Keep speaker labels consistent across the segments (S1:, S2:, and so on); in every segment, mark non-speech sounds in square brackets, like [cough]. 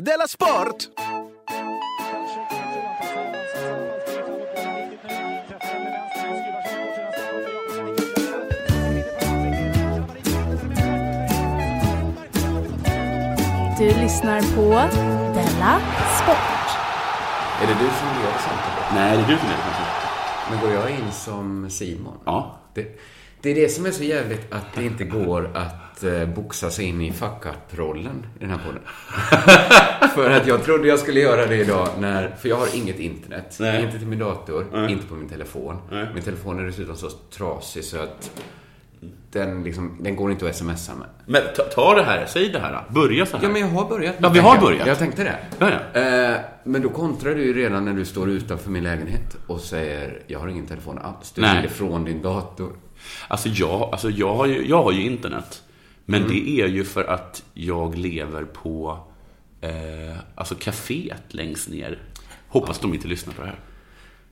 S1: Della Sport!
S2: Du lyssnar på Della Sport.
S3: Är det du som leder samtalet?
S4: Nej, det är du som är det kanske?
S3: Men går jag in som Simon?
S4: Ja.
S3: Det, det är det som är så jävligt att det inte går att eh, boxa sig in i fuck up-rollen i den här podden. [laughs] för att jag trodde jag skulle göra det idag när... För jag har inget internet.
S4: Nej.
S3: Inte till min dator, inte på min telefon. Min telefon är dessutom så trasig så att den, liksom, den går inte att smsa med.
S4: Men ta, ta det här, säg det här. då. Börja så här.
S3: Ja, men jag har börjat.
S4: Ja, vi har börjat.
S3: Jag tänkte det.
S4: Ja, ja.
S3: Eh, men då kontrar du ju redan när du står utanför min lägenhet och säger jag har ingen telefon alls. Du
S4: Nej.
S3: ligger från din dator.
S4: Alltså, jag, alltså jag, har ju, jag har ju internet. Men
S3: Mm.
S4: det är ju för att jag lever på eh, alltså kaféet längst ner. Hoppas de inte lyssnar på det här.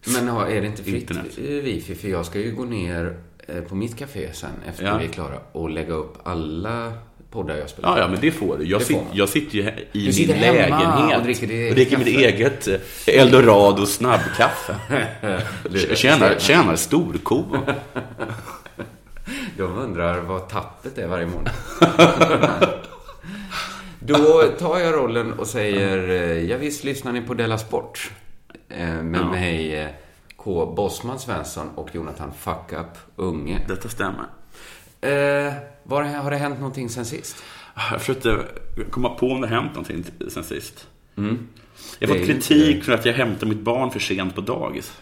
S3: Men har- är det inte fritt
S4: Internet.
S3: eh, wifi? För jag ska ju gå ner eh, på mitt café sen efter
S4: Ja.
S3: vi är klara och lägga upp alla poddar jag spelar.
S4: Ja, ja, men det får du. Jag,
S3: Det får
S4: sit,
S3: man.
S4: jag sitter ju he- i min
S3: sitter hemma
S4: lägenhet
S3: och dricker ditt
S4: och dricker mitt eget eh, Eldorado
S3: [laughs]
S4: snabbkaffe. tjänar, tjänar storko.
S3: De undrar vad tappet är
S4: [laughs]
S3: varje morgon. Då tar jag rollen och säger eh, ja visst lyssnar ni på Della Sport. Eh, Med mig eh, K. Bosman Svensson och Jonathan Fuck Up Unge.
S4: Detta stämmer.
S3: Eh, var, har det hänt någonting sen sist?
S4: Jag försökte komma på om det hänt någonting sen sist. Jag har
S3: Mm. Det
S4: fått
S3: är
S4: kritik för att jag hämtar mitt barn för sent på dagis.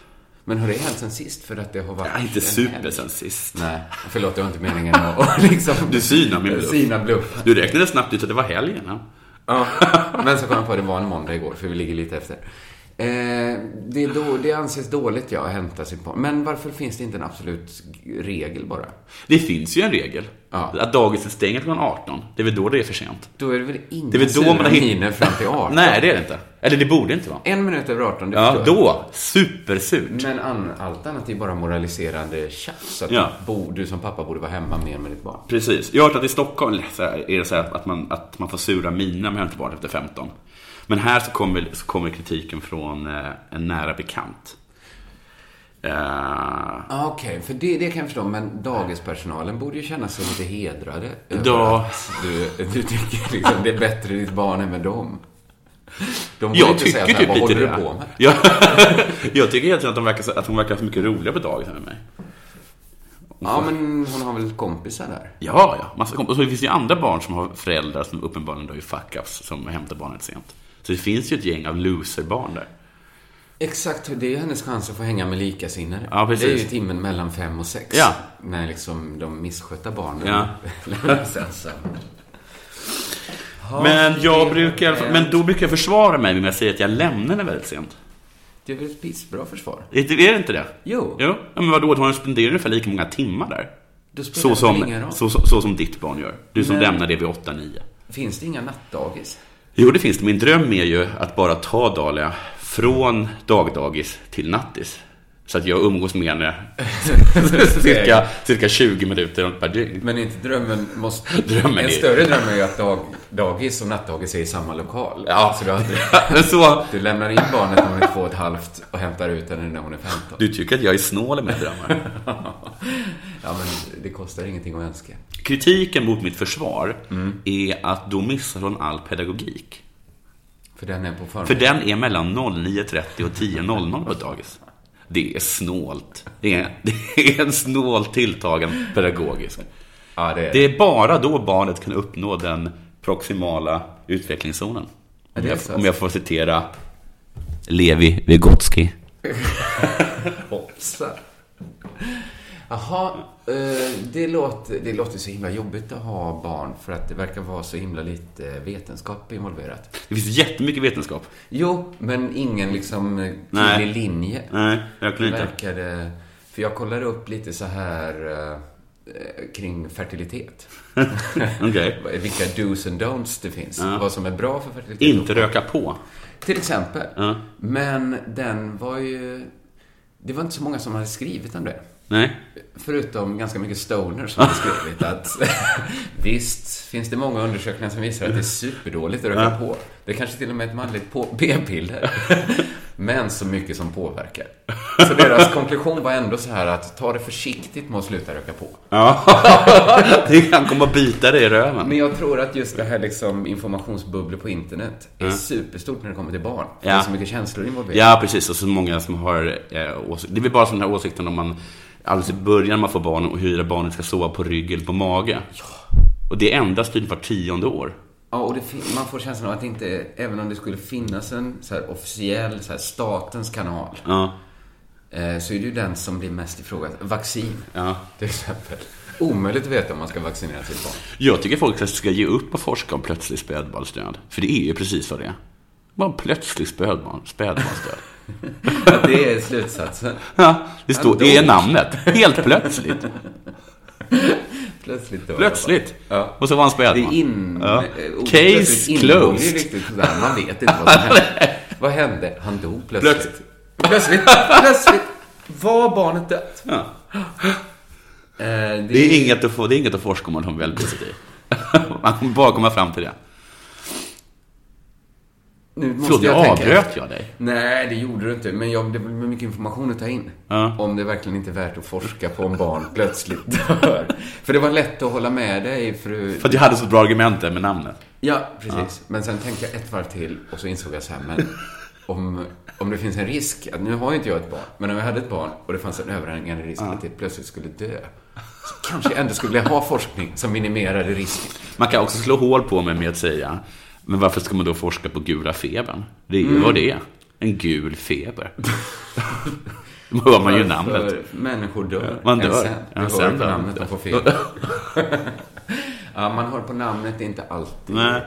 S3: Men har det hänt sen sist? För att det har varit...
S4: Nej, inte
S3: en
S4: super
S3: helg.
S4: sen sist.
S3: Nej, förlåt, det var inte meningen att att [laughs] liksom...
S4: Du synar min bluff.
S3: Sina bluff.
S4: Du räknade snabbt ut att det var helgen. Ja.
S3: Ja, [laughs] men så kom jag på att det var en måndag igår, för vi ligger lite efter. Eh, det, är då, det anses dåligt, ja, att hämta sitt barn. Men varför finns det inte en absolut regel bara?
S4: Det finns ju en regel.
S3: Ja.
S4: Att dagiset stänger klockan 18. Det är väl då det är för sent.
S3: Då är det väl inga
S4: Det är väl då
S3: sura
S4: man har hitt-
S3: miner Alltså, fram
S4: [laughs]
S3: till 18?
S4: Nej, det är det inte. Eller det borde inte vara.
S3: En minut över 18, det
S4: Ja,
S3: förstår jag.
S4: då. Supersurt.
S3: Men an, allt annat är bara moraliserande tjafs. Att
S4: Ja.
S3: du, bo, du som pappa borde vara hemma mer med ditt barn.
S4: Precis. Jag har hört att i Stockholm så här, är det så här att, man, att man får sura miner med hämtbarn efter 15. Men här så kommer, så kommer kritiken från eh, en nära bekant. Eh,
S3: Ja, Okej, för det, det kan jag förstå. Men dagispersonalen borde ju känna sig lite hedrade. över
S4: Ja.
S3: att Du, [laughs] du tycker liksom det är bättre ditt barn än med dem. De borde
S4: jag
S3: inte
S4: tycker
S3: säga så här,
S4: typ
S3: vad
S4: lite
S3: håller du
S4: det.
S3: på med?
S4: Jag, [laughs] jag tycker egentligen att, de verkar, så- att hon verkar så mycket roligare på dagis än med mig.
S3: Ja, men hon har väl kompisar där?
S4: Ja, ja. Massa komp- och så det finns ju andra barn som har föräldrar som uppenbarligen då är fuck-ups som hämtar barnet sent. Så det finns ju ett gäng av loserbarn där.
S3: Exakt, det är ju hennes chans att få hänga med likasinnade.
S4: Ja, precis.
S3: Det är ju timmen mellan fem och sex.
S4: Ja.
S3: När liksom de misskötta barnen [laughs]
S4: Ja. [laughs]
S3: lämnas ensamma.
S4: men jag brukar, men då brukar jag försvara mig med att säga att jag lämnar henne väldigt sent.
S3: Det är väl ett pissbra försvar?
S4: Är det är det inte det?
S3: Jo.
S4: Jo. Ja, men vadå, hon spenderar ungefär lika många timmar där.
S3: Då spelar
S4: Så
S3: det
S4: som,
S3: väl ingen roll.
S4: så, så, så som ditt barn gör. Du som
S3: Men-
S4: lämnar det vid 8-9.
S3: Finns det inga nattdagis?
S4: Jo, det finns det. Min dröm är ju att bara ta Dahlia från dagdagis till nattis. Så att jag umgås med
S3: [laughs]
S4: henne [laughs] cirka, cirka 20 minuter per dygn.
S3: Men inte drömmen måste...
S4: Drömmen
S3: en
S4: är-
S3: större dröm är ju att dag, dagis och nattdagis är i samma lokal.
S4: Ja.
S3: Så du, aldrig,
S4: Men [laughs] så...
S3: du lämnar in barnet när hon är två och ett halvt och hämtar ut henne när hon är 15.
S4: Du tycker att jag är snål i mina drömmar.
S3: [laughs] Ja, men det kostar ingenting att önska.
S4: Kritiken mot mitt försvar
S3: Mm.
S4: är att då missar hon all pedagogik.
S3: För den är på förmiddagen.
S4: För den är mellan 09.30 och 10.00 på dagis. Det är snålt. Det är, [laughs] det är en snålt tilltagen pedagogisk.
S3: Ja, det är
S4: Det är bara då barnet kan uppnå den proximala utvecklingszonen.
S3: Ja,
S4: Om
S3: det är
S4: jag,
S3: så.
S4: om jag får citera Levi Vygotsky.
S3: Hoppsa. Jaha, eh, det låter, det låter så himla jobbigt att ha barn för att det verkar vara så himla lite vetenskap involverat.
S4: Det finns jättemycket vetenskap.
S3: Jo, men ingen liksom eh,
S4: Nej.
S3: tydlig linje.
S4: Nej, verkligen
S3: Det
S4: inte.
S3: verkade... För jag kollade upp lite så här eh, kring fertilitet. Vad-
S4: [laughs] Okej.
S3: Vilka do's and don'ts det finns. Vad som är bra för fertilitet.
S4: Inte röka på.
S3: Till exempel.
S4: Ja.
S3: Men den var ju... Det var inte så många som hade skrivit om det.
S4: Nej.
S3: Förutom ganska mycket stoner som har skrivit att [laughs] visst finns det många undersökningar som visar att det är superdåligt att röka på. Det är kanske till och med ett manligt på-
S4: [laughs]
S3: p-piller. Men så mycket som påverkar. Så deras konklusion var ändå så här att ta det försiktigt med att sluta röka på.
S4: Ja. [laughs] Det kan komma och bita dig i röven.
S3: Men jag tror att just det här liksom informationsbubblor på internet är superstort när det kommer till barn. För Det är
S4: Ja.
S3: så mycket känslor involverade.
S4: Ja, precis. Och så många som har eh, åsikter. Det är väl bara som den här åsikten om man alldeles i början när man får barn och hur barnet ska sova på rygg eller på mage. Och det ändras tydligen var tionde år.
S3: Ja, och det, fin- man får känslan av att inte, även om det skulle finnas en så här officiell så här statens kanal,
S4: Ja.
S3: eh, så är det ju den som blir mest ifrågasatt. Vaccin,
S4: Ja.
S3: till exempel. Omöjligt att veta om man ska vaccinera sitt barn.
S4: Jag tycker folk ska ge upp och forska om plötslig spädbarnsdöd. För det är ju precis vad det är. Bara en plötslig spädbarn,
S3: [laughs]
S4: spädbarnsdöd.
S3: Att det är slutsatsen.
S4: Ja, det står, det är namnet. Helt
S3: [laughs]
S4: plötsligt.
S3: Plötsligt då.
S4: Plötsligt.
S3: Ja.
S4: Och så var han
S3: Det är
S4: spädbarn.
S3: in...
S4: Ja.
S3: eh, ordet
S4: Case
S3: plötsligt innehåller ju liksom-
S4: closed.
S3: riktigt sådär. Man vet inte
S4: [laughs]
S3: vad som hände. vad hände? Han dog plötsligt.
S4: Plötsligt.
S3: Plötsligt. Plötsligt var barnet dött.
S4: Ja.
S3: Eh, det,
S4: Det är inget att, få, det är inget att forska om man har en väldigt [laughs] Man kommer bara komma fram till det.
S3: Nu måste
S4: Förlåt, nu
S3: jag tänka
S4: avbröt jag dig.
S3: Nej, det gjorde du inte. Men jag, det blir mycket information att ta in.
S4: Ja.
S3: Om det verkligen inte är värt att forska på om barn [laughs] plötsligt dör. För det var lätt att hålla med dig, fru...
S4: För att jag hade så bra argument där med namnet.
S3: Ja, precis. Men sen tänkte jag ett varv till och så insåg jag så här, men om, om det finns en risk, att nu har ju inte jag ett barn, men om jag hade ett barn och det fanns en överhängande risk att det plötsligt skulle dö, så kanske jag ändå skulle ha forskning som minimerade risken.
S4: Man kan också slå hål på mig med att säga, men varför ska man då forska på gula febern? Det är ju vad det är. En gul feber. [laughs] Då hör man ju namnet.
S3: För Människor dör.
S4: Man dör.
S3: Sen.
S4: Ja,
S3: Man
S4: sen
S3: hör på
S4: dör.
S3: namnet man
S4: [laughs]
S3: får fel. ja, man hör på namnet, det är inte alltid
S4: Nej.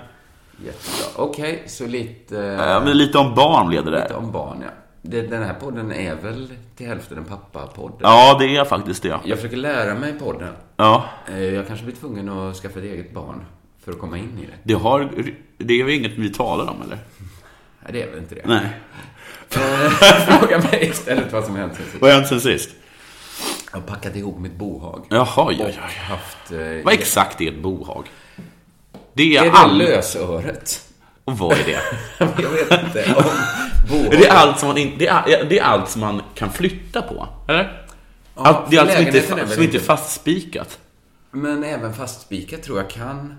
S3: jättebra. Okej, så lite, eh,
S4: Ja, men lite om barn blev det
S3: lite
S4: där.
S3: om barn, ja. Det- Den här podden är väl till hälften en pappa-podd?
S4: Ja, det är faktiskt det.
S3: Jag försöker lära mig podden.
S4: Ja.
S3: Eh, Jag kanske blir tvungen att skaffa ett eget barn för att komma in i
S4: Det,
S3: det.
S4: har, det är väl inget vi talar om, eller?
S3: Nej, det är väl inte det.
S4: Nej.
S3: Eh, [laughs] Fråga mig istället vad som hänt sen sist.
S4: Vad har hänt sen sist?
S3: Jag har packat ihop mitt bohag.
S4: Jaha, oj,
S3: Och
S4: oj, oj.
S3: haft... eh,
S4: Vad exakt är ett bohag? Det är,
S3: Är det
S4: all...
S3: lösöret?
S4: Och vad är det?
S3: Jag vet inte. Om bohag.
S4: det, är allt som man in... det, är, det är allt som man kan flytta på, eller?
S3: Ja,
S4: allt, det är allt som inte,
S3: lägenheten är
S4: är
S3: väl
S4: som inte är
S3: inte-
S4: fastspikat.
S3: Men även fastspikat tror jag kan...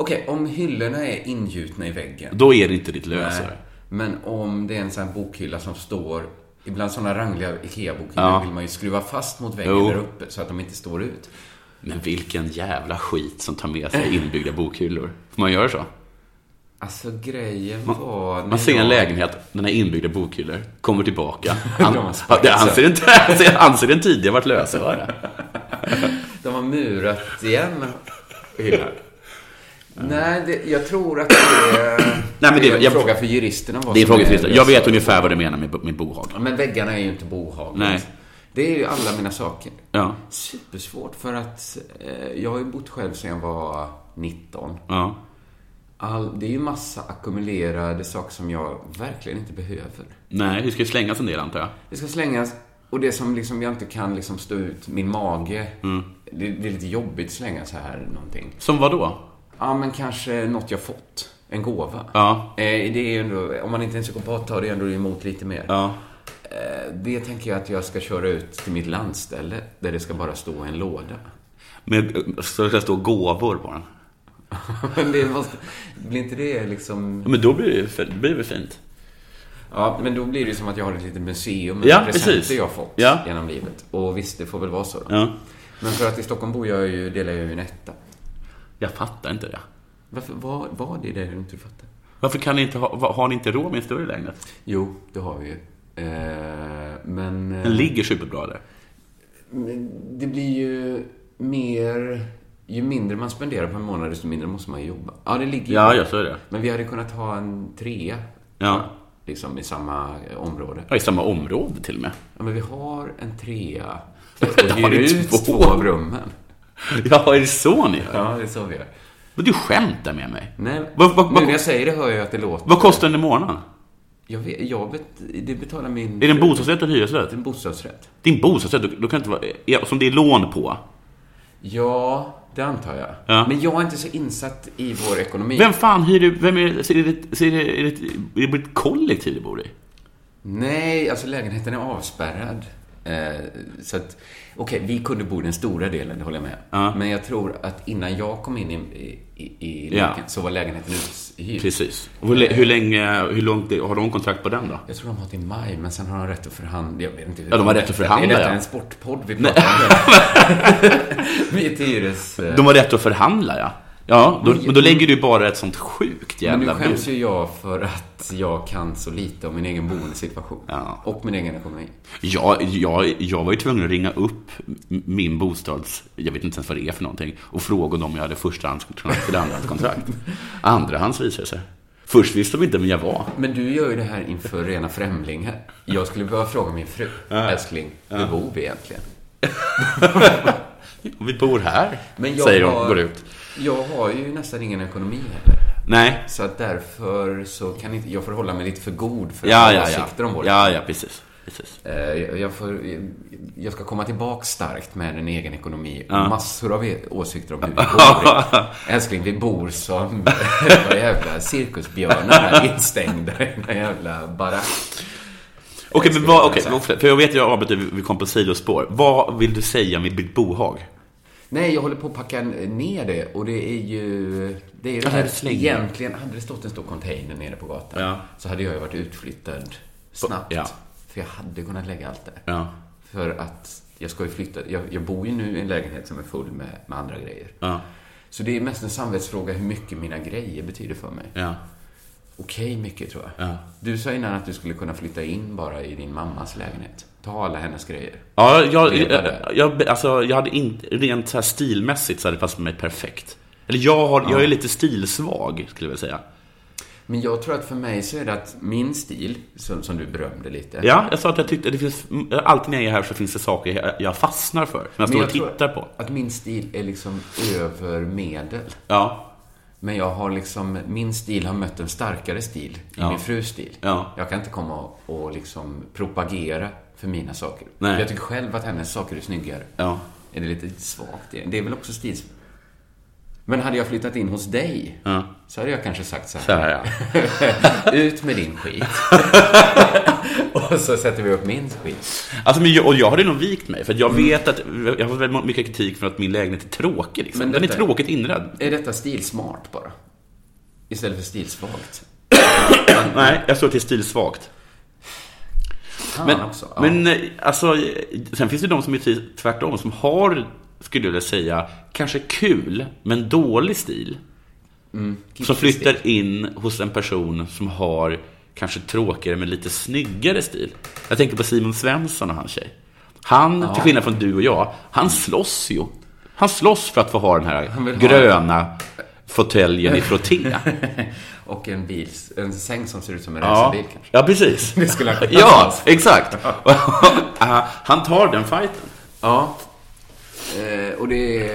S3: Okej, om hyllorna är ingjutna i väggen.
S4: Då är det inte ditt
S3: Nej.
S4: lösare.
S3: Men om det är en sån här bokhylla som står... Ibland såna rangliga IKEA-bokhyllor
S4: Ja.
S3: vill man ju skruva fast mot väggen
S4: Jo.
S3: där uppe så att de inte står ut.
S4: Men vilken jävla skit som tar med
S3: Eh.
S4: sig inbyggda bokhyllor. Får man göra så?
S3: Alltså grejen var... när
S4: Man ser
S3: jag-
S4: en lägenhet, den är inbyggda bokhyllor, kommer
S3: [laughs]
S4: tillbaka.
S3: De har
S4: Han,
S3: spackat
S4: det anser inte, [laughs] anser- anser den tidigare varit lösare.
S3: De har murat igen hyllan. Nej, det, jag tror att det är...
S4: Nej, men det-
S3: är en
S4: jag-
S3: fråga för juristerna. vad
S4: Det är
S3: som
S4: frågan till Christer. Jag
S3: lösöret.
S4: vet ungefär vad du menar med, bo- med bohag.
S3: Ja, Men väggarna är ju inte bohagligt.
S4: Nej.
S3: Det är ju alla mina saker.
S4: Ja.
S3: Supersvårt för att eh, jag har ju bott själv sedan jag var 19.
S4: ja.
S3: All, det är ju massa ackumulerade saker som jag verkligen inte behöver.
S4: Nej, det ska ju slängas en del antar jag.
S3: Det ska slängas och det som liksom jag inte kan liksom stå ut, min mage.
S4: Mm.
S3: Det, det är lite jobbigt att slänga så här någonting.
S4: Som vad då?
S3: Ja, men kanske något jag fått. En gåva.
S4: Ja.
S3: Eh, det är ju ändå, om man inte är en psykopat tar det ändå emot lite mer.
S4: Ja.
S3: Eh, Det tänker jag att jag ska köra ut till mitt landställe där det ska bara stå en låda. [laughs]
S4: Med, så det ska stå gåvor på den.
S3: Men det måste, blir inte det liksom...
S4: Ja, Men då blir det ju fe- det blir väl fint.
S3: Ja, men då blir det som att jag har ett litet museum med
S4: Ja,
S3: presenter
S4: precis.
S3: jag fått
S4: Ja.
S3: genom livet. Och visst, det får väl vara så. Då.
S4: Ja.
S3: Men för att i Stockholm bor jag ju, delar jag ju en etta.
S4: Jag fattar inte det.
S3: Varför, var, var det det du inte fattar?
S4: Varför kan ni inte ha, va- har ni inte råd med en större lägenhet?
S3: Jo, det har vi ju. Eh, men... eh,
S4: Den ligger superbra där.
S3: Men det blir ju mer... Ju mindre man spenderar på en månad, desto mindre måste man ju jobba. Ja, det ligger ju-
S4: Ja, jag så är det.
S3: Men vi hade kunnat ha en trea.
S4: Ja.
S3: Liksom i samma eh, område.
S4: Ja, I samma område till och med. [laughs]
S3: Ja, men vi har en trea.
S4: Det
S3: Och
S4: har
S3: hyr
S4: ni
S3: ut
S4: två.
S3: två av rummen.
S4: Ja, är det så ni gör?
S3: Ja, det är så vi gör.
S4: Men du skämtar med mig.
S3: Nej,
S4: Vad- vad-
S3: nu när jag säger det hör jag att det låter...
S4: Vad kostar den i månaden?
S3: Jag vet, jag vet, det betalar min...
S4: Är det en bostadsrätt eller hyresrätt?
S3: En bostadsrätt.
S4: Det är en bostadsrätt, då, då kan det inte vara... ja, Som det är lån på.
S3: Ja, det antar jag.
S4: Ja.
S3: Men jag är inte så insatt i vår ekonomi.
S4: Vem fan hyr du... Vem är det... så Är det, så är det, är det, är det ett kollektiv du bor i?
S3: Nej, alltså lägenheten är avspärrad. Eh, så att, okej, vi kunde bo i den stora delen, det håller jag med.
S4: Ja.
S3: Men jag tror att innan jag kom in i, i, i i
S4: Ja.
S3: leken så var lägenheten uthyrd.
S4: Precis. Och Hur, lä- hur länge... Hur långt har de kontrakt på den då?
S3: Jag tror de har till maj, men sen har de rätt att förhandla. Jag vet inte hur
S4: Ja, de har rätt att förhandla,
S3: Är
S4: ja.
S3: detta en sportpodd vi pratar om? [laughs] vi är ett hyres... eh,
S4: De har rätt att förhandla, ja. Ja, då, men då lägger du bara ett sånt sjukt
S3: Men nu
S4: jävla bud.
S3: skäms ju jag för att jag kan så lite om min egen boendesituation.
S4: Ja.
S3: Och min egen ekonomi.
S4: Jag, jag, jag var ju tvungen att ringa upp m- min bostads... Jag vet inte ens vad det är för någonting. Och fråga om jag hade förstahandskontrakt eller
S3: [laughs]
S4: andrahandskontrakt. Andrahands visade det sig. Först visste de inte vem jag var.
S3: Men du gör ju det här inför rena främlingar. Jag skulle behöva fråga min fru. Älskling, hur bor vi egentligen?
S4: Vi bor här,
S3: Men
S4: säger de går ut.
S3: Jag har ju nästan ingen ekonomi heller.
S4: Nej.
S3: Så att därför så kan inte... Jag får hålla mig lite för god för att
S4: Ja,
S3: ha
S4: ja,
S3: åsikter om
S4: ja.
S3: vår
S4: Ja, ja, precis. precis.
S3: Eh, Jag, jag, får, jag ska komma tillbaka starkt med en egen ekonomi. Massor av e-
S4: [laughs]
S3: åsikter om hur vi bor. Älskling, vi bor som [laughs] vad jävla cirkusbjörnar här, instängda i en jävla barack.
S4: Okej, men vad, okej,
S3: säga.
S4: för jag vet att jag avbryter, vi kom på sidospår. Vad vill du säga med Britt Bohag?
S3: Nej, jag håller på att packa eh, ner det och det är ju... Det är ju det
S4: Ja,
S3: här,
S4: du slänger.
S3: egentligen, hade det stått en stor container nere på gatan
S4: Ja.
S3: så hade jag ju varit utflyttad snabbt.
S4: ja.
S3: För jag hade kunnat lägga allt där.
S4: Ja.
S3: För att jag ska ju flytta. Jag, jag bor ju nu i en lägenhet som är full med, med andra grejer.
S4: Ja.
S3: Så det är mest en samvetsfråga hur mycket mina grejer betyder för mig.
S4: Ja.
S3: Okej mycket tror jag.
S4: Ja.
S3: Du sa innan att du skulle kunna flytta in bara i din mammas lägenhet. Ta alla hennes grejer.
S4: Ja, jag, jag,
S3: Ledare.
S4: jag, alltså, jag hade inte, rent så här stilmässigt så hade det passat mig perfekt. Eller jag, har, jag är lite stilsvag, skulle jag vilja säga.
S3: Men jag tror att för mig så är det att min stil, som, som du berömde lite.
S4: Ja, jag sa att jag tyckte, det finns, alltid när jag är här så finns det saker jag, jag fastnar för, som jag står
S3: Men
S4: och
S3: tror
S4: tittar på.
S3: Att min stil är liksom över medel.
S4: Ja,
S3: Men jag har liksom, min stil har mött en starkare stil i
S4: Ja.
S3: min frus stil.
S4: Ja.
S3: Jag kan inte komma och, och liksom propagera för mina saker.
S4: Nej.
S3: Jag tycker själv att hennes saker är snyggare.
S4: ja.
S3: Är det lite svagt det? Det är väl också stils... Men hade jag flyttat in hos dig
S4: Ja.
S3: så hade jag kanske sagt så här.
S4: Så här, ja.
S3: Ut med din skit. och så sätter vi upp min skit.
S4: [laughs] Alltså, men jag, och jag hade nog vikt mig, för att jag vet att jag har fått väldigt mycket kritik för att min lägenhet är tråkig. Liksom.
S3: Men
S4: Den är
S3: detta-
S4: tråkigt inredd.
S3: Är detta stilsmart bara? Istället för stilsvagt?
S4: Nej, jag står till stilsvagt.
S3: Fan
S4: Men,
S3: också. Ja.
S4: men eh, alltså, eh, sen finns det de som är precis tvärtom, som har, skulle jag vilja säga, kanske kul, men dålig stil.
S3: Mm,
S4: Som flyttar in hos en person som har kanske tråkigare men lite snyggare stil. Jag tänker på Simon Svensson och hans tjej. Han, till skillnad från du och jag, han slåss ju. Han slåss för att få ha den
S3: vill
S4: här
S3: ha-
S4: gröna fåtöljen i [laughs]
S3: [laughs]
S4: frotté.
S3: [laughs] Och en bil, en säng som ser ut som en
S4: Ja,
S3: racerbil kanske.
S4: ja precis.
S3: Det skulle han kunna
S4: Ja,
S3: ha.
S4: exakt. [laughs] han tar den fighten.
S3: Ja. Eh, och det,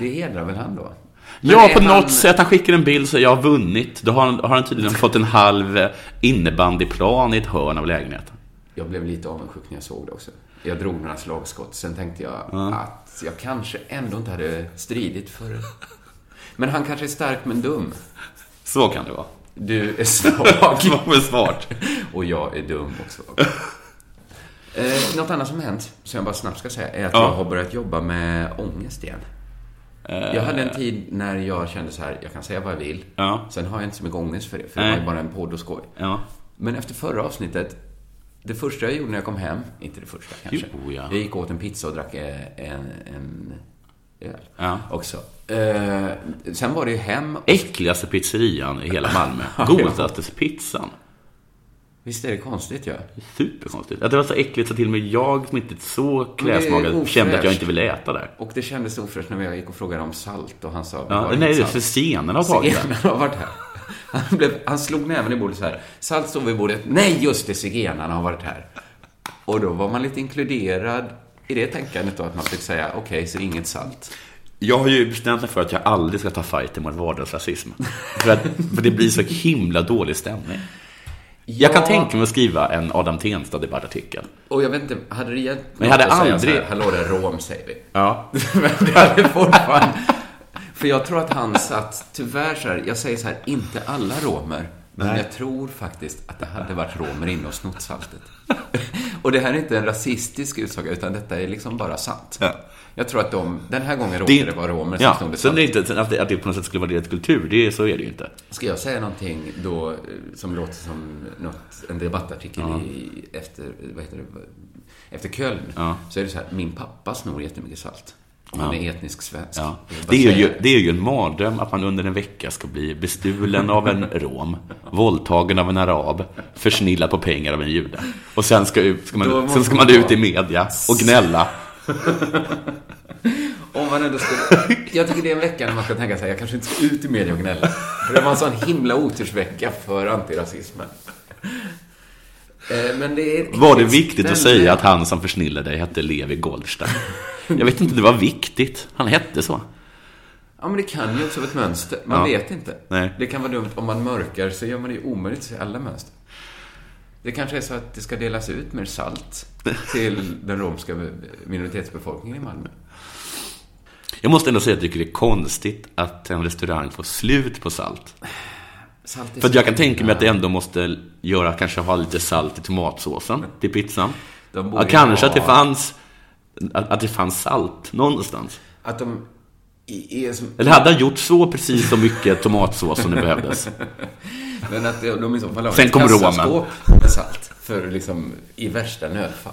S3: det hedrar väl han då? Men
S4: Ja,
S3: är
S4: på något
S3: han-
S4: sätt. Han skickar en bild så jag har vunnit. Då har han, har han tydligen fått en halv eh, innebandyplan i ett hörn av lägenheten.
S3: Jag blev lite avundsjuk när jag såg det också. Jag drog några slagskott, sen tänkte jag att jag kanske ändå inte hade stridit för det. Men han kanske är stark men dum.
S4: Så kan det vara. [laughs]
S3: Du är svag.
S4: Vad var smart.
S3: och jag är dum och svag. Eh, något annat som hänt, som jag bara snabbt ska säga, är att
S4: Ja.
S3: jag har börjat jobba med ångest igen. Jag hade en tid när jag kände så här, jag kan säga vad jag vill.
S4: Eh. Ja.
S3: Sen har jag inte så mycket ångest för det, för det
S4: Nej.
S3: var ju bara en podd och skoj.
S4: Ja.
S3: Men efter förra avsnittet, det första jag gjorde när jag kom hem, inte det första kanske.
S4: Jo, ja.
S3: Jag gick åt en pizza och drack eh, en, en öl
S4: Ja.
S3: också. Eh, sen var det ju hem.
S4: Äckligaste pizzerian i hela
S3: [laughs]
S4: Malmö. Godaste pizzan.
S3: Visst är det konstigt ju? Ja.
S4: Superkonstigt. Att det var så äckligt så till och med jag som inte är så
S3: det är
S4: klädsmagad kände att jag
S3: ofräscht.
S4: inte ville äta där.
S3: Och det kändes ofräscht när jag gick och frågade om salt och han sa, vi
S4: Ja,
S3: har
S4: nej, det är
S3: inget
S4: för
S3: salt.
S4: scenerna har tagit den.
S3: Zigenaren har varit här. Han, blev, han slog näven i bordet så här. Salt stod vid bordet. Nej, just det, zigenarna har varit här. Och då var man lite inkluderad i det tänkandet då, att man fick säga okej, så inget salt.
S4: Jag har ju bestämt mig för att jag aldrig ska ta fighten mot vardagsrasism. För, att, för det blir så himla dålig stämning. Jag kan
S3: Ja.
S4: tänka mig att skriva en Adam Tensta-debattartikel.
S3: Och jag vet inte, hade det hjälpt
S4: Men jag hade
S3: något att säga
S4: aldrig-
S3: så här, Hallå, det är rom, säger vi.
S4: Ja.
S3: Men det hade fortfarande... För jag tror att han satt, tyvärr så här, jag säger så här, inte alla romer. Men
S4: Nej.
S3: jag tror faktiskt att det hade varit romer inne och snott saltet. Och det här är inte en rasistisk utsaga, utan detta är liksom bara sant.
S4: Ja.
S3: Jag tror att de, den här gången råkade
S4: Det-
S3: det, vara romer som
S4: ja.
S3: snodde
S4: Sen är det
S3: saltet.
S4: inte att det, att det på något sätt skulle vara deras kultur, det, så är det ju inte.
S3: Ska jag säga någonting då eh, som låter som något, en debattartikel i, efter, vad heter det, efter Köln.
S4: Ja.
S3: Så är det så här, min pappa snor jättemycket salt. Och han
S4: Ja.
S3: är etnisk svensk.
S4: Ja.
S3: Vad
S4: Det, är
S3: säger
S4: ju,
S3: jag?
S4: det är ju en mardröm att man under en vecka ska bli bestulen av en rom, våldtagen av en arab, försnillad på pengar av en jude. Och sen ska, ut, ska,
S3: Då
S4: man,
S3: måste
S4: sen ska
S3: man
S4: man ut
S3: vara-
S4: i media och gnälla.
S3: Om man ändå skulle... [laughs] Jag tycker det är en vecka när man ska tänka så här, jag kanske inte ska ut i media och gnälla. För det var en sån himla otursvecka för antirasismen. Eh, Men det är...
S4: Var det viktigt att säga att han som försnillade dig hette Levi Goldstein? Jag vet inte, det var viktigt. Han hette så.
S3: Ja, men det kan ju också vara ett mönster. Man
S4: Ja.
S3: vet inte.
S4: Nej.
S3: Det kan vara dumt. Om man mörkar så gör man det ju omöjligt att se alla mönster. Det kanske är så att det ska delas ut mer salt till den romska minoritetsbefolkningen i Malmö.
S4: Jag måste ändå säga att jag tycker det är konstigt att en restaurang får slut på salt.
S3: Salt är
S4: För att
S3: så-
S4: jag kan tänka mig att det ändå måste göra, kanske ha lite salt i tomatsåsen till pizzan.
S3: De
S4: Ja,
S3: borde
S4: kanske att det
S3: ha-
S4: fanns att, att det fanns salt någonstans.
S3: Att de i- är som
S4: Eller hade han gjort så precis så mycket tomatsås som det behövdes?
S3: Men att de i så fall har
S4: Sen
S3: ett
S4: kom romen.
S3: kassaskåp med salt. För liksom, i värsta nödfall.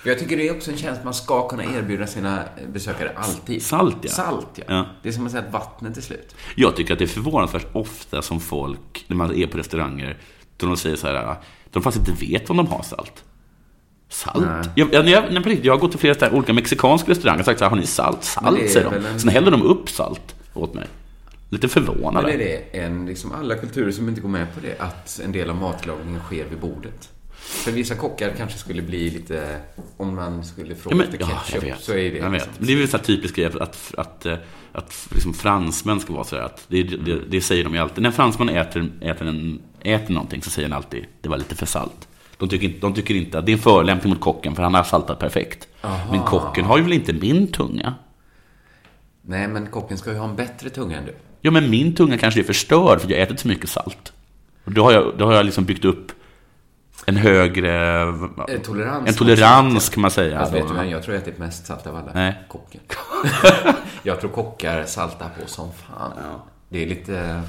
S3: För jag tycker det är också en tjänst man ska kunna erbjuda sina besökare alltid.
S4: Salt, ja.
S3: Salt, ja.
S4: Ja.
S3: Det är som att säga att vattnet är slut.
S4: Jag tycker att det är förvånansvärt ofta som folk, när man är på restauranger, då de säger så här, "Ah, de faktiskt inte vet om de har salt. Salt?
S3: Nej.
S4: Jag, jag, jag, nej, på riktigt, jag har gått till flera så här olika mexikanska restauranger och sagt så här, har ni salt?
S3: Men det är
S4: Salt, säger
S3: väl
S4: de.
S3: en-
S4: Sen häller de upp salt åt mig. Lite förvånade.
S3: Men är det en, liksom alla kulturer som inte går med på det, att en del av matlagningen sker vid bordet? För vissa kockar kanske skulle bli lite, om man skulle fråga efter ketchup, så är det
S4: jag vet.
S3: liksom-
S4: Men det är väl så här typiskt grej att, att, att, eh, att liksom fransmän ska vara så här att det, det, det säger de ju alltid. När fransmän äter, äter, en, äter någonting så säger de alltid det var lite för salt. De tycker, inte, de tycker inte att det är en förolämpning mot kocken för han har saltat perfekt. Men kocken har ju väl inte min tunga?
S3: Nej, men kocken ska ju ha en bättre tunga än du.
S4: Ja, men min tunga kanske är förstörd för jag har ätit så mycket salt. Och då har jag, då har jag liksom byggt upp en högre...
S3: Eh, tolerans.
S4: En tolerans kan man säga.
S3: Fast Alltså, vet du
S4: då.
S3: vem jag tror jag ätit mest salt av alla?
S4: Alltså, Nej.
S3: Kocken. [laughs] jag tror kockar saltar på som fan. Det är lite...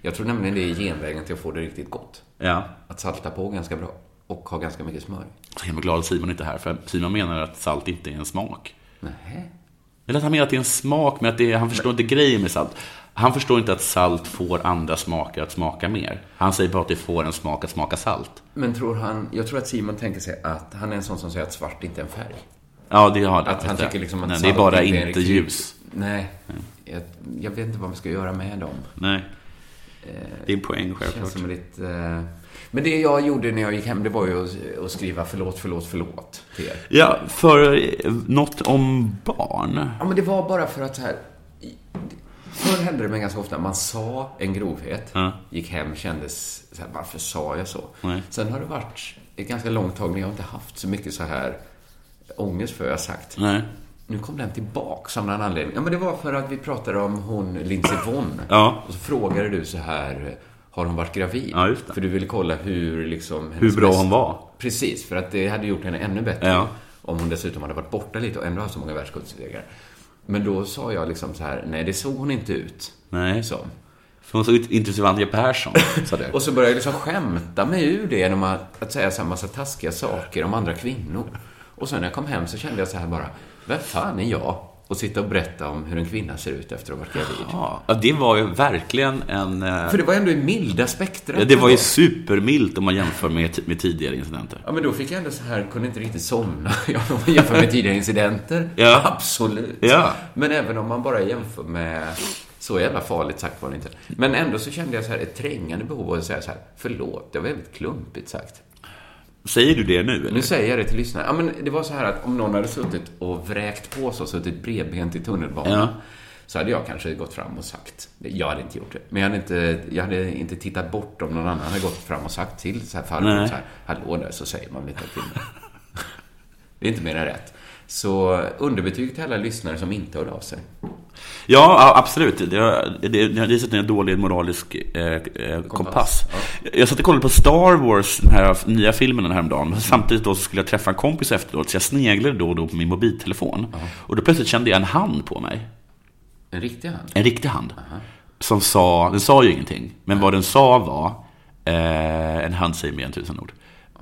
S3: Jag tror nämligen det är genvägen till att få det riktigt gott.
S4: ja.
S3: Att salta på ganska bra. Och ha ganska mycket smör.
S4: Så himla glad att Simon inte är här, för Simon menar att salt inte är en smak.
S3: Nej.
S4: Eller att han menar att det är en smak, men att det är, han förstår inte grejen med salt. Han förstår inte att salt får andra smaker att smaka mer. Han säger bara att det får en smak att smaka salt.
S3: Men tror han... Jag tror att Simon tänker sig att han är en sån som säger att svart inte är en färg.
S4: Ja, det har
S3: Att han
S4: vet jag.
S3: tycker liksom att
S4: Nej, det
S3: salt
S4: är bara
S3: inte är
S4: inte
S3: en riktig-
S4: ljus.
S3: Nej. Jag, jag vet inte vad man ska göra med dem.
S4: Nej. Det är en poäng,
S3: Eh, Känns
S4: självklart.
S3: som lite... eh, Men det jag gjorde när jag gick hem, det var ju att- att skriva förlåt, förlåt, förlåt till er.
S4: Ja, för eh, något om barn.
S3: Ja, men det var bara för att så här... i- Förr hände det mig ganska ofta. Man sa en grovhet,
S4: Ja.
S3: gick hem, kändes så här, varför sa jag så?
S4: Nej.
S3: Sen har det varit ett ganska långt tag, men jag har inte haft så mycket så här ångest för vad jag har sagt.
S4: Nej.
S3: Nu kom den tillbaks av någon anledning. Ja, men det var för att vi pratade om hon Lindsey Vonn.
S4: Ja.
S3: Och så frågade du så här, har hon varit gravid?
S4: Ja, just det.
S3: För du ville kolla hur liksom...
S4: Hur
S3: hennes
S4: bra
S3: bästa-
S4: hon var.
S3: Precis, för att det hade gjort henne ännu bättre.
S4: Ja.
S3: Om hon dessutom hade varit borta lite och ändå haft så många världscupsegrar. Men då sa jag liksom så här, nej det såg hon inte ut.
S4: Nej.
S3: Så.
S4: För hon såg ut inte som Anja Persson, sa du.
S3: Och så började jag liksom skämta mig ur det genom att, att säga så här massa taskiga saker om andra kvinnor. Och sen när jag kom hem så kände jag så här bara, vem fan är jag? Och sitta och berätta om hur en kvinna ser ut efter att ha varit gravid.
S4: [laughs] Ja, ja, det var ju verkligen en... eh,
S3: För det var ändå i milda spektrat.
S4: Ja, det var ju supermilt om man jämför med, med tidigare incidenter.
S3: Ja, men då fick jag ändå så här, kunde inte riktigt somna. [laughs] Jag jämför med tidigare incidenter.
S4: [laughs] Ja.
S3: Absolut.
S4: Ja.
S3: Men även om man bara jämför med... Så jävla farligt sagt var det inte. Men ändå så kände jag så här ett trängande behov av att säga så här, förlåt, det var väldigt klumpigt sagt.
S4: Säger du det nu? Eller?
S3: Nu säger jag det till lyssnarna. Ja, men det var så här att om någon hade suttit och vräkt på sig och suttit bredbent i tunnelbanan
S4: Ja.
S3: så hade jag kanske gått fram och sagt, jag hade inte gjort det, men jag hade inte, jag hade inte tittat bort om någon annan hade gått fram och sagt till så här farbror,
S4: Nej.
S3: så här, hallå där, så säger man väl inte till mig. [laughs] Det är inte mer än rätt. Så underbetyg till alla lyssnare som inte hörde av sig.
S4: Ja, ja, absolut. Det har, det, det har visat en dålig moralisk eh, eh, kompass. Jag satt och kollade på Star Wars, den här nya filmen den häromdagen. Men Samtidigt då så skulle jag träffa en kompis efteråt, så jag sneglade då och då på min mobiltelefon. Och då plötsligt kände jag en hand på mig.
S3: En riktig hand.
S4: En riktig hand. Som sa, den sa ju ingenting. Men vad den sa var, eh, en hand säger mer än tusen ord.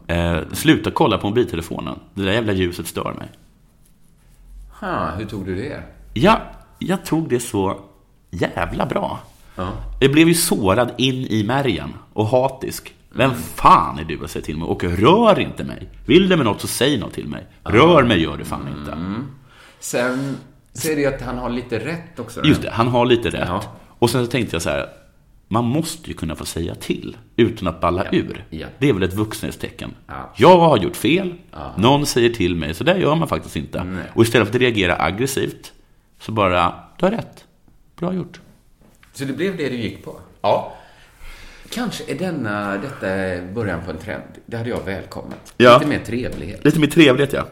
S4: Eh, sluta kolla på mobiltelefonen. Det där jävla ljuset stör mig.
S3: Ha, hur tog du det?
S4: Ja, jag tog det så jävla bra.
S3: Ja.
S4: Jag blev ju sårad in i märgen och hatisk. Vem
S3: Mm.
S4: fan är du att säga till mig? Och rör inte mig. Vill du med något så säg något till mig. Rör mig gör du fan inte.
S3: Mm. Sen så är det ju att han har lite rätt också.
S4: Just det, han har lite rätt.
S3: Ja.
S4: Och sen så tänkte jag så här, man måste ju kunna få säga till utan att balla ur.
S3: ja.
S4: Det är väl ett vuxenhetstecken.
S3: Ja.
S4: Jag har gjort fel, någon säger till mig, så där gör man faktiskt inte. Och istället för att reagera aggressivt, så bara, du har rätt. Bra gjort.
S3: Så det blev det du gick på?
S4: Ja.
S3: Kanske är denna, detta början på en trend. Det hade jag välkomnat.
S4: Ja.
S3: Lite mer trevlighet.
S4: Lite mer trevligt, ja.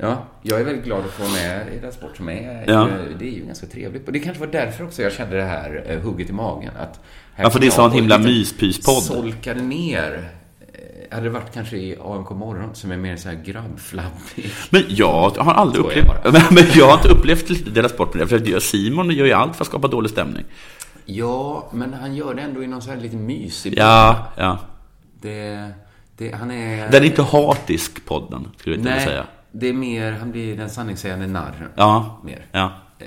S3: Ja, jag är väldigt glad att få vara med i den sport som är.
S4: Ja.
S3: Det är ju ganska trevligt. Och det kanske var därför också jag kände det här eh, hugget i magen. Att här
S4: Ja, för
S3: kan
S4: det är
S3: jag
S4: så en
S3: gå och
S4: himla
S3: lite
S4: myspyspodd.
S3: Solkade ner. Eh, Hade det varit kanske i AMK morgon som är mer så här grabbflabbig.
S4: Men jag har aldrig
S3: Så är
S4: upplevt... [laughs] Men jag har inte upplevt lite deras sport med det. För att jag- Simon gör ju allt för att skapa dålig stämning.
S3: Ja, men han gör det ändå i någon så här lite mysig
S4: Ja, ja.
S3: Det, det, han är...
S4: Den är inte hatisk, podden, skulle jag vilja
S3: nej,
S4: säga.
S3: det är mer, han blir den sanningssägande narren.
S4: Ja.
S3: Mer.
S4: Ja.
S3: Eh,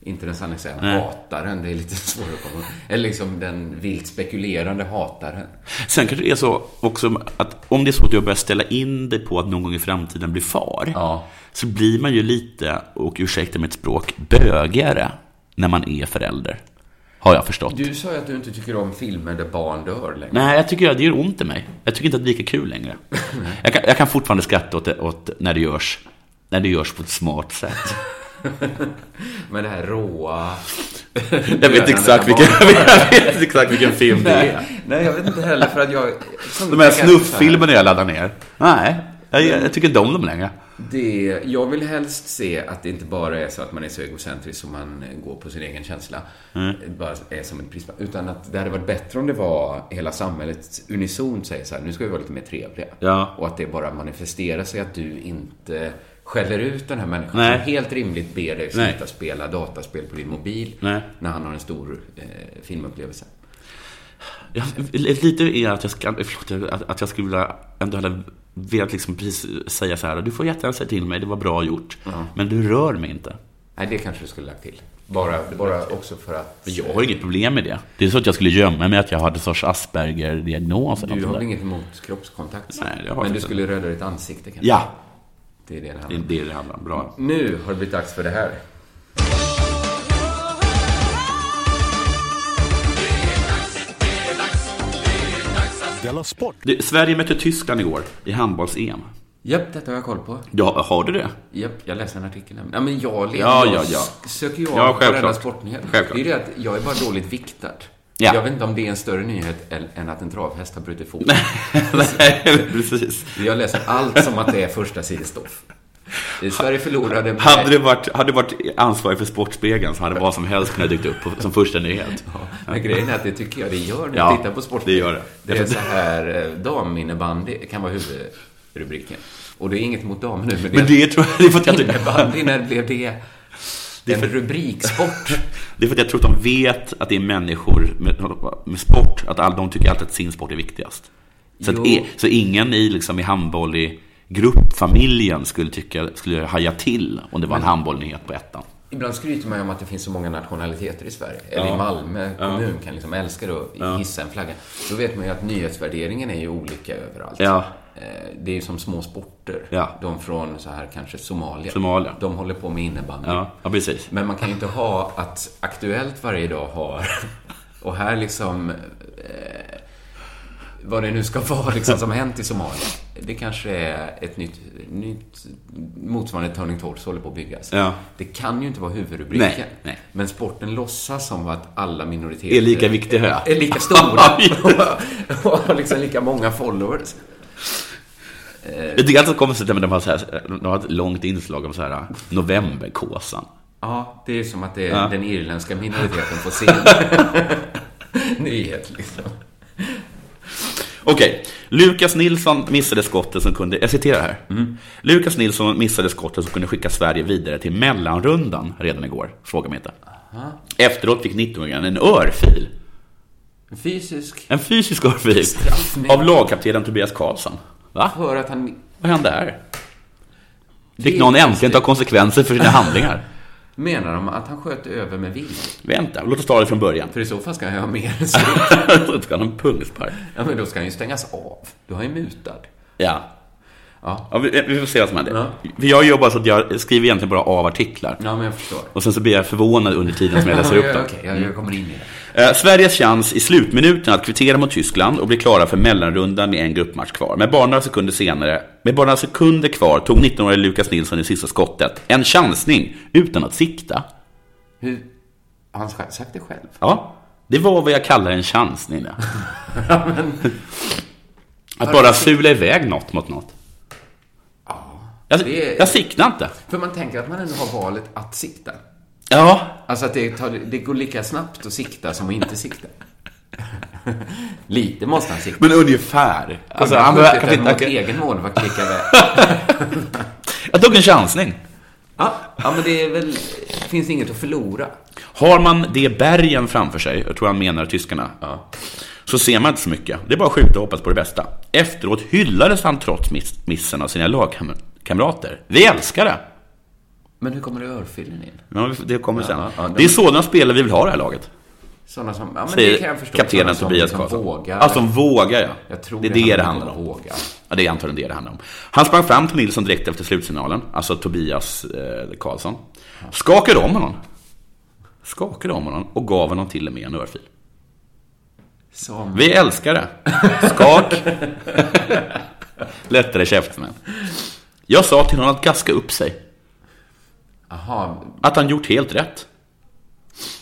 S3: inte den sanningssägande hataren, det är lite [laughs] svårare att komma Eller liksom den vilt spekulerande hataren.
S4: Sen kanske det är så också att om det är så att jag börjar ställa in dig på att någon gång i framtiden bli far.
S3: Ja.
S4: Så blir man ju lite, och ursäkta mitt språk, bögigare när man är förälder. Har jag förstått.
S3: Du sa ju att du inte tycker om filmer där barn dör längre.
S4: Nej, jag tycker att det gör ont i mig. Jag tycker inte att det är lika kul [laughs] längre. Jag kan, jag kan fortfarande skratta åt, det, åt när, det görs, när det görs på ett smart sätt.
S3: Men det här råa...
S4: [laughs] Jag vet exakt vilken, [laughs] jag vet exakt vilken film det är.
S3: Nej, nej, jag vet inte heller för att jag...
S4: De här snufffilmerna jag laddar ner. Nej, jag, jag tycker inte om dem längre.
S3: Det, jag vill helst se att det inte bara är så att man är så egocentrisk som man går på sin egen känsla.
S4: Mm.
S3: Bara är som en prisma. Utan att det hade varit bättre om det var hela samhället unisont säger så här, nu ska vi vara lite mer trevliga.
S4: Ja.
S3: Och att det bara manifesterar sig att du inte skäller ut den här människan
S4: Nej.
S3: som helt rimligt ber dig
S4: Nej.
S3: sluta spela dataspel på din mobil
S4: Nej.
S3: när han har en stor eh, filmupplevelse.
S4: Jag, lite är att jag, ska, förlåt, jag- att, att jag skulle vilja, ändå hade velat liksom precis säga så här, du får jättegärna säga till mig, det var bra gjort, men du rör mig inte.
S3: Nej, det kanske du skulle lagt till. Bara, bara också för att...
S4: Men Jag har inget problem med det. Det är så att jag skulle gömma mig att jag hade en sorts Asperger-diagnos eller något
S3: Du har
S4: sånt
S3: väl
S4: där.
S3: inget emot kroppskontakt? så?
S4: Nej, det har jag
S3: Men du
S4: inte.
S3: skulle röda ditt ansikte kanske?
S4: Ja,
S3: Det är det det
S4: det är
S3: handlar om.
S4: det det handlar om. Bra.
S3: Nu har det blivit dags för det här.
S1: Della Sport!
S4: Det, Sverige mötte Tyskland igår i handbolls-EM.
S3: Japp, detta har jag koll på.
S4: Ja, har
S3: [laughs]
S4: du det?
S3: Japp, jag läste en artikel. här. Ja, men jag lever.
S4: Ja,
S3: jag
S4: ja, ja.
S3: s- söker ju
S4: Ja,
S3: av på varenda
S4: självklart.
S3: sportnyhet.
S4: Självklart.
S3: Det är ju det att jag är bara dåligt viktad.
S4: Ja.
S3: Jag vet inte om det är en större nyhet än- än att en travhäst har brutit foten.
S4: Nej, precis.
S3: Jag läser allt som att det är
S4: [laughs]
S3: första sidestoff. Eh, Sverige förlorade... med-
S4: Hade du varit, hade du varit ansvarig för Sportspegeln så hade vad som helst kunnat dykt upp på, som första nyhet.
S3: Men grejen är att det tycker jag det gör när
S4: Ja,
S3: jag tittar på sport.
S4: det gör det.
S3: Det är så här, eh, daminnebandy kan vara huvudrubriken. Och det är inget mot damer nu, men det,
S4: Men det tror jag, det är för att jag inte...
S3: innebandy, när blev det, en rubriksport?
S4: Det är för att jag tror att de vet att det är människor med, med sport, att all, de tycker alltid att sin sport är viktigast. Så, att
S3: Jo.
S4: e, så ingen i, liksom, i handboll i gruppfamiljen skulle, tycka, skulle haja till om det var en handbollnyhet på ettan.
S3: Ibland skryter man ju om att det finns så många nationaliteter i Sverige. Eller i Malmö kommun kan liksom älska det och hissa en flagga. Då vet man ju att nyhetsvärderingen är ju olika överallt.
S4: Ja.
S3: Eh, Det är ju som små sporter.
S4: Ja.
S3: De från så här kanske Somalia.
S4: Somalia.
S3: De håller på med innebandy.
S4: Ja, ja precis.
S3: Men man kan ju inte ha att Aktuellt varje dag har och här liksom eh, vad det nu ska vara liksom, som har hänt i Somalia. Det kanske är ett nytt, nytt motsvarande Turning Torso håller på att byggas.
S4: Ja.
S3: Det kan ju inte vara huvudrubriken.
S4: Nej, nej.
S3: Men sporten låtsas som att alla minoriteter
S4: Är lika viktig hö.
S3: är
S4: [laughs]
S3: lika stora [laughs] och, och har liksom lika många followers.
S4: Jag tycker alltid det kommer sig att de har, så här, de har ett långt inslag om så här novemberkåsan.
S3: Ja, det är som att det är den irländska minoriteten på sin [laughs] nyhet liksom.
S4: Okej, Lukas Nilsson missade skottet som kunde, jag citerar här. Lukas Nilsson missade skottet som kunde skicka Sverige vidare till mellanrundan redan igår. Fråga mig inte. Efteråt fick 19-åringen en örfil.
S3: Fysisk.
S4: En fysisk örfil.
S3: Straffning.
S4: Av lagkaptenen Tobias Karlsson. Va?
S3: För att han...
S4: Vad hände här? Fick någon äntligen ta konsekvenser för sina handlingar?
S3: Menar de att han sköt över med vilja?
S4: Vänta, låt oss ta det från början. [laughs]
S3: För i så fall ska han ju ha mer än så.
S4: Då ska han ha en pungspark.
S3: Ja, men då ska han ju stängas av. Då är han ju mutad.
S4: Ja.
S3: Ja.
S4: vi, vi får se vad som händer.
S3: Ja.
S4: För Jag jobbar så att jag skriver egentligen bara av artiklar.
S3: Ja, men jag förstår.
S4: Och sen så blir jag förvånad under tiden som jag läser upp
S3: Ja,
S4: dem.
S3: Okej, jag, jag kommer in i det.
S4: Eh, Sveriges chans i slutminuten att kvittera mot Tyskland och bli klara för mellanrundan med en gruppmatch kvar. Men bara några sekunder senare, med bara några sekunder kvar, tog 19-årige Lukas Nilsson det sista skottet. En chansning, utan att sikta.
S3: Hur... Har han själv sagt det själv?
S4: Ja, det var vad jag kallar en chansning. ja.
S3: [laughs] Ja, men...
S4: Att bara sula iväg något mot något. Jag,
S3: det-
S4: jag siktar inte.
S3: För man tänker att man ändå har valet att sikta.
S4: Ja,
S3: Alltså att det, tar, det går lika snabbt att sikta som att inte sikta. [laughs] Lite måste han sikta.
S4: men ungefär. Alltså, han
S3: har
S4: behöver
S3: skjutit den
S4: kanske
S3: mot
S4: inte...
S3: egen målvakt
S4: [laughs]
S3: lika väl.
S4: Jag tog en chansning.
S3: Ja, ja, men det är väl... Finns inget att förlora.
S4: Har man det bergen framför sig, jag tror han menar tyskarna, så ser man inte så mycket. Det är bara att skjuta och hoppas på det bästa. Efteråt hyllades han trots miss- missen av sina lagkamrater. Vi älskar det!
S3: Men hur kommer det örfilen in?
S4: Ja, vi- det kommer sen.
S3: ja, de-
S4: det är sådana spelare vi vill ha i det här laget.
S3: Sådana som... Ja, men det kan
S4: Säger
S3: jag förstå.
S4: kaptenen
S3: Sådana som
S4: Tobias
S3: liksom
S4: Karlsson.
S3: Vågar.
S4: Ja, som vågar ja.
S3: Jag tror
S4: det är det det
S3: handlar
S4: handlar om.
S3: om. att Våga.
S4: Ja, det är antagligen det det handlar om. Han sprang fram till Nilsson direkt efter slutsignalen, alltså Tobias eh, Karlsson. Skakade om honom. Skakade om honom och gav honom till och med en örfil.
S3: Som...
S4: Vi älskar det. Skak. [laughs] Lättare käftsmäll. Jag sa till honom att gaska upp sig.
S3: Aha,
S4: Att han gjort helt rätt.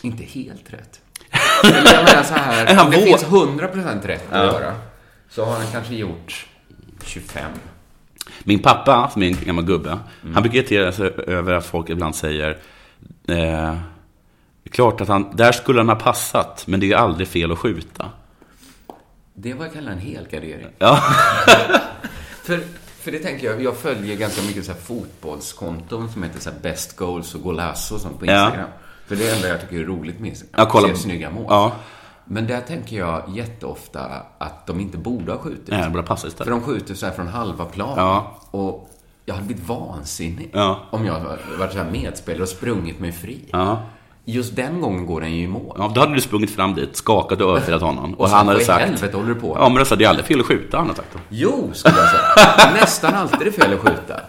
S3: inte helt rätt. Eller jag menar så
S4: Är [laughs]
S3: här,
S4: han
S3: om det
S4: vår-
S3: finns 100% rätt att göra, så har han kanske gjort 25.
S4: Min pappa, som är en gammal gubbe, han brukar irritera sig över att folk ibland säger eh, Klart att han, där skulle han ha passat, men det är aldrig fel att skjuta.
S3: Det är vad jag kallar en helgardering.
S4: Ja.
S3: [laughs] För, för det tänker jag, jag följer ganska mycket så här fotbollskonton som heter så här best goals och golazo och sånt på
S4: Ja.
S3: Instagram. För det är det enda jag tycker är roligt med Instagram.
S4: Ja, kolla-
S3: Se snygga mål.
S4: Ja.
S3: Men där tänker jag jätteofta att de inte borde ha skjutit.
S4: Nej, han borde ha passat
S3: För
S4: istället.
S3: de skjuter så här från halva plan.
S4: Ja.
S3: Och jag hade blivit vansinnig
S4: Ja.
S3: om jag hade varit så här medspelare och sprungit mig fri.
S4: Ja.
S3: Just den gången går den ju i mål.
S4: ja, då hade du sprungit fram dit, skakat och örfilat honom. Och,
S3: Och
S4: han
S3: sen,
S4: hade
S3: vad i
S4: sagt...
S3: helvete håller du på med?
S4: Ja, men då sa det är aldrig fel att skjuta, han har sagt. då.
S3: Jo, skulle jag säga. Nästan alltid är fel att skjuta.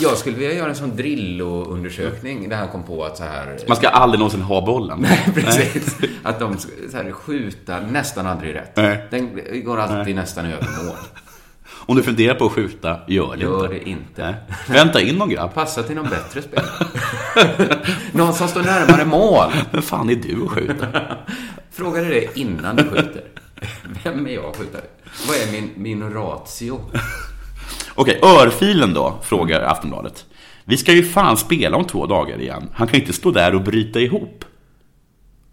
S3: Jag skulle vilja göra en sån Drillo-undersökning där han kom på att så här...
S4: Man ska aldrig någonsin ha bollen.
S3: Precis. Att de sk- så här, skjuta nästan aldrig rätt.
S4: Nej.
S3: Den går alltid nästan över mål.
S4: Om du funderar på att skjuta, gör det
S3: Gör
S4: inte.
S3: det inte.
S4: Nej. Vänta in någon grabb.
S3: Passa till någon bättre spelare. någon som står närmare mål.
S4: Vem fan är du att skjuta?
S3: Frågade dig innan du skjuter. Vem är jag att skjuta? Vad är min, min ratio?
S4: Okej, örfilen då, frågar Aftonbladet. Vi ska ju fan spela om två dagar igen. Han kan ju inte stå där och bryta ihop.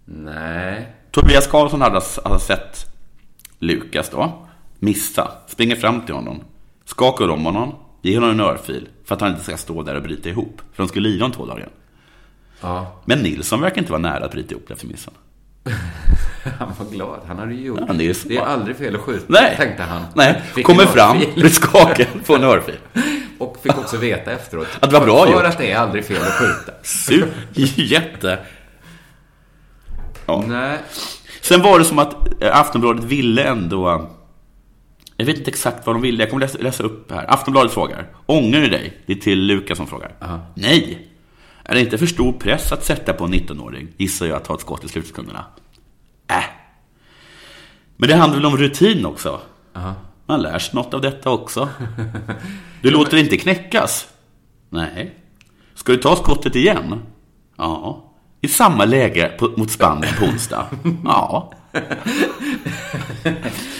S3: Nej.
S4: Tobias Karlsson hade alltså sett Lukas då, missa, springer fram till honom, skakar om honom, ger honom en örfil för att han inte ska stå där och bryta ihop. För de skulle lira om två dagar.
S3: Ja,
S4: Men Nilsson verkar inte vara nära att bryta ihop efter missen.
S3: han var glad. Han hade ju gjort...
S4: Ja, det är så.
S3: det är aldrig fel att skjuta,
S4: Nej.
S3: tänkte han.
S4: Nej,
S3: Fick
S4: kommer
S3: en
S4: fram,
S3: örfil.
S4: blir skakad, får en örfil.
S3: [laughs] Och fick också veta efteråt.
S4: Att det var bra
S3: För
S4: gjort.
S3: att det är aldrig fel att skjuta. [laughs]
S4: Sur, jätte. Ja.
S3: Nej.
S4: Sen var det som att eh, Aftonbladet ville ändå... eh, Jag vet inte exakt vad de ville, jag kommer läsa, läsa upp här. Aftonbladet frågar. Ångrar du dig? Det är till Lukas som frågar. Nej! Är det inte för stor press att sätta på en 19-åring? Gissar jag att ta ett skott i slutsekunderna. Äh. Men det handlar väl om rutin också?
S3: Aha.
S4: Man lär sig något av detta också. Du låter inte knäckas? Nej. Ska du ta skottet igen? Ja. I samma läge på, mot Spanien på onsdag? Ja.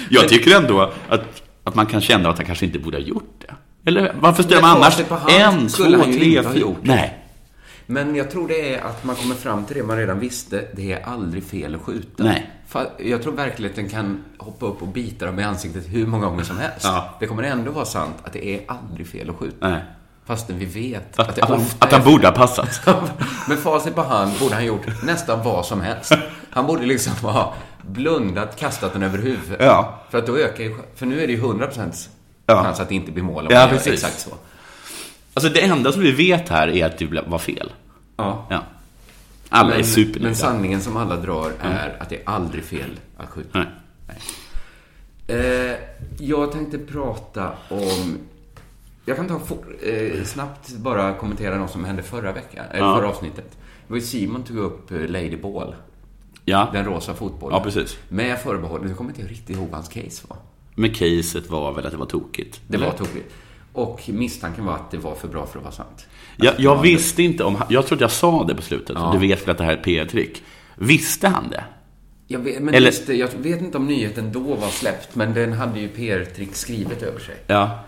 S4: Jag tycker ändå att, att man kan känna att han kanske inte borde ha gjort det. Eller varför ställer man
S3: Men
S4: annars
S3: facit på hand
S4: en, två,
S3: skulle han ju
S4: tre,
S3: inte ha
S4: fyra?
S3: gjort.
S4: Nej.
S3: Men jag tror det är att man kommer fram till det man redan visste. Det är aldrig fel att skjuta.
S4: Nej.
S3: Fa- Jag tror verkligheten kan hoppa upp och bita dem i ansiktet hur många gånger som helst.
S4: Ja.
S3: Det kommer ändå vara sant att det är aldrig fel att skjuta.
S4: Nej.
S3: Fastän vi vet
S4: Att,
S3: det
S4: att, han,
S3: ofta
S4: att han
S3: är-
S4: borde ha passat.
S3: [laughs] Med facit på hand borde han gjort nästan vad som helst. Han borde liksom ha blundat, kastat den över huvudet.
S4: Ja.
S3: För att då ökar ju För nu är det ju 100%
S4: Ja.
S3: chans att det inte blir mål om
S4: Ja,
S3: man gör
S4: precis.
S3: exakt så.
S4: Alltså det enda som vi vet här är att det var fel.
S3: Ja.
S4: Ja. Alla är
S3: Men, men
S4: supernöjda.
S3: sanningen som alla drar är att det är aldrig fel att skjuta.
S4: Nej.
S3: Eh, jag tänkte prata om... Jag kan ta for, eh, snabbt bara kommentera något som hände förra veckan, eller
S4: Ja.
S3: förra avsnittet. Det var ju Simon tog upp eh, Lady Ball,
S4: Ja,
S3: den rosa fotbollen.
S4: Ja, precis.
S3: Med förbehåll, jag kommer inte riktigt ihåg vad hans case var.
S4: men caset var väl att det var tokigt.
S3: Det
S4: Eller?
S3: var tokigt. Och misstanken var att det var för bra för att vara sant.
S4: Jag, jag visste inte om han- Jag trodde jag sa det på slutet. Du vet väl att det här är ett PR-trick. Visste han det?
S3: Jag vet, men
S4: Eller-
S3: visst, jag vet inte om nyheten då var släppt, men den hade ju PR-trick skrivet över sig.
S4: Ja.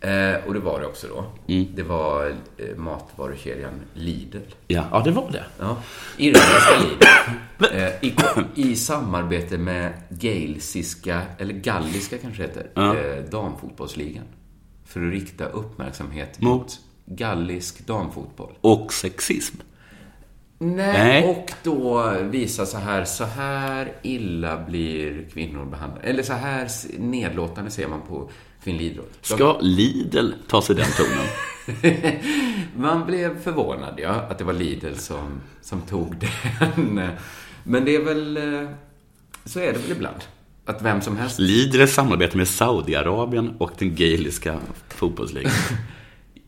S3: Eh, och det var det också då.
S4: Mm.
S3: Det var eh, matvarukedjan Lidl.
S4: Ja, ja det var det.
S3: Ja. Irländska Lidl. [coughs] Eh, i, I samarbete med galesiska, eller galliska kanske det heter, eh, damfotbollsligan. För att rikta uppmärksamhet mot,
S4: Mot?
S3: gallisk damfotboll.
S4: Och sexism.
S3: Nej,
S4: Nej.
S3: och då visa så här, så här illa blir kvinnor behandlade. Eller så här s- nedlåtande ser man på kvinnlig idrott. De-
S4: Ska Lidl ta sig den tonen?
S3: Man blev förvånad, ja, att det var Lidl som, som tog [laughs] den. Men det är väl... eh, Så är det väl ibland. Att vem som helst...
S4: Lidl samarbetar med Saudiarabien och den gaeliska fotbollsligan.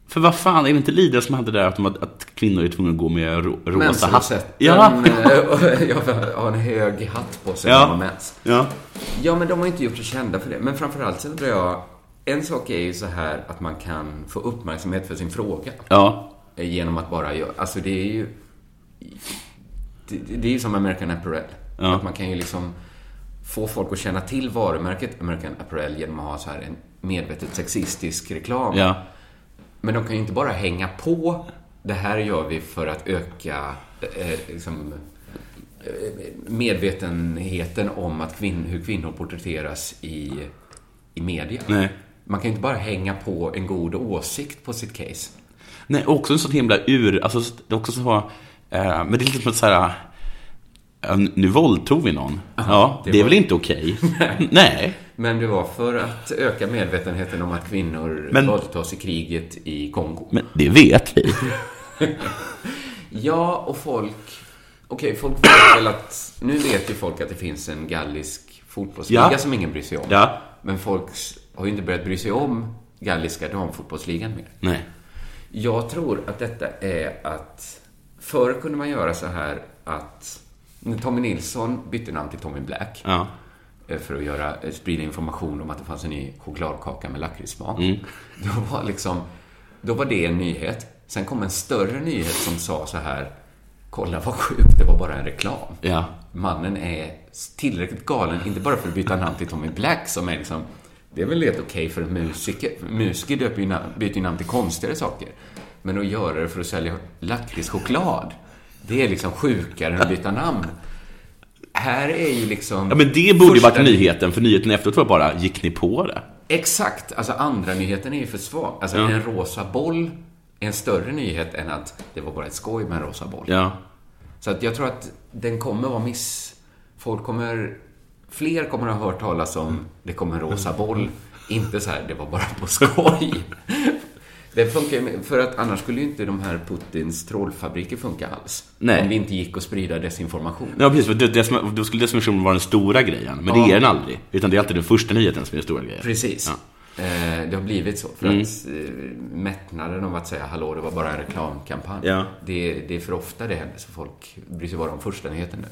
S4: För vad fan, är det inte Lidl som hade det där att, de, hade- att kvinnor är tvungna att gå med ro, rosa hatt?
S3: Mensrosetten
S4: Ja.
S3: eh, [laughs] jag har en hög hatt på sig
S4: [laughs]
S3: när
S4: Ja.
S3: man har mens.
S4: ja.
S3: Ja, men de har inte gjort sig kända för det. Men framförallt så undrar jag, en sak är ju så här att man kan få uppmärksamhet för sin fråga.
S4: Ja.
S3: Eh, Genom att bara göra, alltså det är ju... Det, det är ju som American Apparel.
S4: Ja.
S3: Att man kan ju liksom få folk att känna till varumärket American Apparel genom att ha så här en medvetet sexistisk reklam.
S4: Ja.
S3: Men de kan ju inte bara hänga på. Det här gör vi för att öka eh, liksom, eh, medvetenheten om att kvinn, hur kvinnor porträtteras i, i media.
S4: Nej.
S3: Man kan ju inte bara hänga på en god åsikt på sitt case.
S4: Nej, också en sån himla ur... Alltså, det är också så... Eh, men det är lite som att så här... eh, Nu våldtog vi någon. ja, det,
S3: det
S4: är
S3: var-
S4: väl inte okej? Nej.
S3: Men det var för att öka medvetenheten om att kvinnor
S4: Men-
S3: våldtas i kriget i Kongo.
S4: Men det vet vi.
S3: Ja, och folk... Okej, folk vet väl att... Nu vet ju folk att det finns en gallisk fotbollsliga
S4: Ja.
S3: som ingen bryr sig om.
S4: Ja.
S3: Men folk s- har ju inte börjat bry sig om galliska damfotbollsligan mer.
S4: Nej.
S3: Jag tror att detta är att... Förr kunde man göra så här att... När Tommy Nilsson bytte namn till Tommy Black
S4: Ja.
S3: eh, för att göra, eh, sprida information om att det fanns en ny chokladkaka med lakritssmak. [laughs] Då, var liksom, då var det en nyhet. Sen kom en större nyhet som sa så här, kolla vad sjukt, det var bara en reklam.
S4: Ja.
S3: Mannen är tillräckligt galen, inte bara för att byta namn till Tommy Black som är liksom, det är väl helt okej för en musiker. Musiker döper ju namn, byter ju namn till konstigare saker. Men att göra det för att sälja lakritschoklad, det är liksom sjukare än att byta namn. Här är ju liksom...
S4: ja, men det borde ju varit
S3: första
S4: nyheten, för nyheten efteråt var bara, gick ni på det?
S3: Exakt, alltså andra nyheten är ju för svag. Alltså en rosa boll är en större nyhet än att det var bara ett skoj med en rosa boll.
S4: Ja.
S3: Så att jag tror att den kommer vara miss... Folk kommer... Fler kommer ha hört talas om det kommer en rosa
S4: Mm.
S3: boll, inte så här det var bara på skoj. Det funkar ju med- för att annars skulle ju inte de här Putins trollfabriker funka alls.
S4: Nej.
S3: Om det inte gick att sprida desinformation.
S4: Ja, precis. För det, det som, då skulle definitionen vara den stora grejen, men det
S3: Ja.
S4: är den aldrig. Utan det är alltid den första nyheten som är den stora grejen.
S3: Precis.
S4: Ja. Mm.
S3: Eh, Det har blivit så. För att eh, mättnaden om att säga hallå, det var bara en reklamkampanj.
S4: Ja.
S3: Det, det är för ofta det händer, så folk bryr sig bara om första nyheten nu.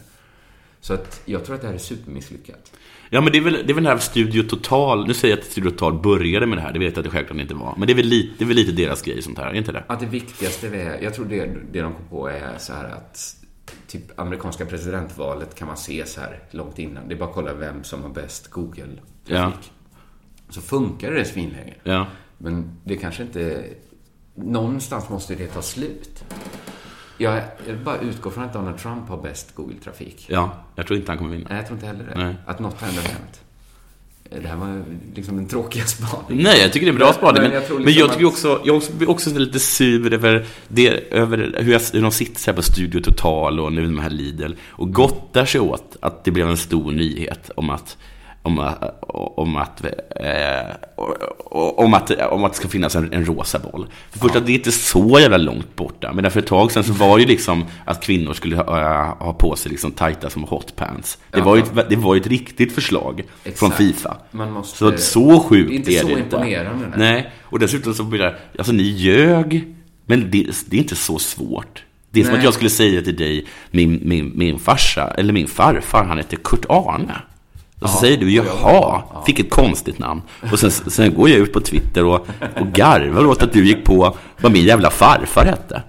S3: Så att jag tror att det här är supermisslyckat.
S4: Ja, men det är väl, det är väl det här Studio Total. Nu säger jag att Studio Total började med det här. Det vet jag att det självklart inte var. Men det är väl lite, det är väl lite deras grej, sånt här. Är inte det?
S3: Att det viktigaste är, jag tror det, det de kom på är så här att typ amerikanska presidentvalet kan man se så här långt innan. Det är bara att kolla vem som har bäst Google-trafik.
S4: Ja.
S3: Så funkar det svinlänge.
S4: Ja.
S3: Men det kanske inte... Någonstans måste det ta slut. Jag, jag bara utgår från att Donald Trump har bäst Google-trafik.
S4: Ja, jag tror inte han kommer vinna.
S3: Nej, jag tror inte heller det.
S4: Nej.
S3: Att något ändå har hänt. Det här var ju liksom den tråkiga spaningen.
S4: Nej, jag tycker det är en bra spaning. Men,
S3: Men jag tror
S4: men
S3: liksom
S4: jag tycker
S3: att-
S4: också, jag också, blir också lite sur över, det, över hur, jag, hur de sitter så här på Studio Total och nu med här Lidl och gottar sig åt att det blev en stor nyhet om att om att, om att, eh, om att, om att det ska finnas en, en rosa boll. För först att det är inte så jävla långt borta. Men för ett tag sedan så var ju liksom att kvinnor skulle ha, ha på sig liksom tajta som hotpants. Det, var ju ett, det var ju ett riktigt förslag från
S3: Exakt.
S4: Fifa.
S3: Man måste-
S4: Så att så sjukt
S3: Det är inte
S4: är
S3: så
S4: det
S3: imponerande,
S4: inte.
S3: nej.
S4: Nej, och dessutom så blir det, alltså ni ljög, men det, det är inte så svårt. Det är som
S3: Nej.
S4: att jag skulle säga till dig, min, min, min farsa, eller min farfar, han heter Kurt-Arne. Och så säger du, jaha, fick ett konstigt namn. Och sen, sen går jag ut på Twitter och, och garvar åt att du gick på vad min jävla farfar hette.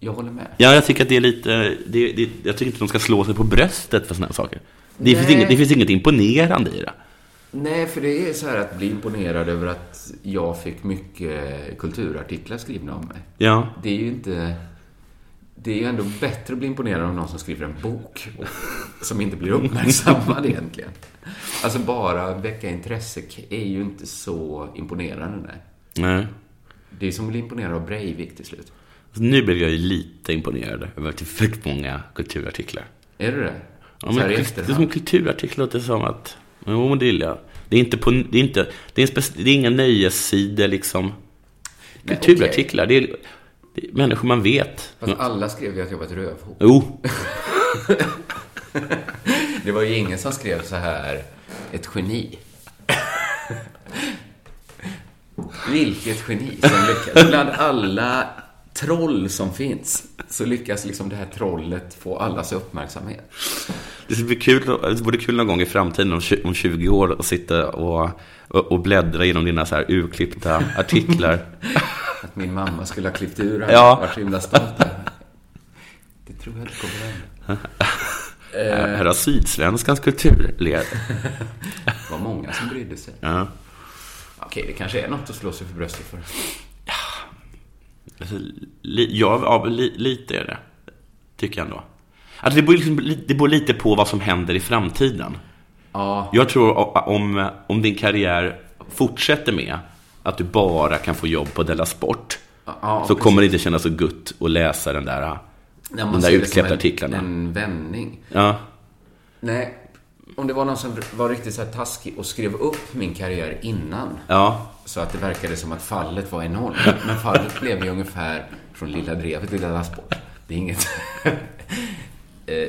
S3: Jag håller med.
S4: Ja, jag tycker att det är lite, det, det, jag tycker inte de ska slå sig på bröstet för sådana här saker. Det finns,
S3: Nej.
S4: inget, det finns inget imponerande i det.
S3: Nej, för det är så här att bli imponerad över att jag fick mycket kulturartiklar skrivna om mig.
S4: Ja.
S3: Det är ju inte... Det är ju ändå bättre att bli imponerad av någon som skriver en bok och- som inte blir uppmärksammad egentligen. Alltså bara väcka intresse är ju inte så imponerande. Nej.
S4: Nej.
S3: Det är som att bli imponerad av Breivik till slut.
S4: Så nu blev jag ju lite imponerad över tillräckligt många kulturartiklar.
S3: Är du det?
S4: Ja,
S3: så här
S4: men
S3: i
S4: kul- det är som
S3: efterhand.
S4: kulturartiklar låter det som att... Jo, men det gillar jag. Det är inte på... Det är, inte, det är, en spec, det är inga nöjessidor liksom.
S3: Nej,
S4: Kulturartiklar, det, är, det är människor man vet.
S3: Fast alla skrev ju att jag var ett rövhål.
S4: Jo,
S3: Det var ju ingen som skrev så här, ett geni. Vilket geni som lyckas. Bland alla troll som finns så lyckas liksom det här trollet få allas uppmärksamhet.
S4: det skulle bli kul, det vore kul någon gång i framtiden om tju- om 20 år att sitta och, och, och bläddra genom dina så här urklippta
S3: [laughs]
S4: artiklar.
S3: Att min mamma skulle ha klippt ur här.
S4: Ja.
S3: Ja. Vart så himla stolt över. Det tror jag inte kommer hända.
S4: Här här har Sydsvenskans kulturled.
S3: Det var många som brydde sig.
S4: Ja.
S3: Okej, det kanske är något att slå sig för bröstet för.
S4: Alltså, li, ja, ja, men li, lite är det. Tycker jag ändå. Alltså, det, beror liksom, li- det beror lite på vad som händer i framtiden.
S3: Ja,
S4: Jag tror o- om, om din karriär fortsätter med att du bara kan få jobb på Della Sport
S3: ja
S4: så kommer det inte kännas så gött att läsa den där,
S3: när man
S4: de där
S3: ser det som
S4: utklippta
S3: en-
S4: artiklarna.
S3: En vändning.
S4: Ja.
S3: Nej, om det var någon som var riktigt så här taskig och skrev upp min karriär innan.
S4: ja.
S3: Så att det verkade som att fallet var enormt. Men
S4: [laughs]
S3: fallet blev ju ungefär från Lilla Drevet till Lilla Sport. Det är inget... [laughs] Eh,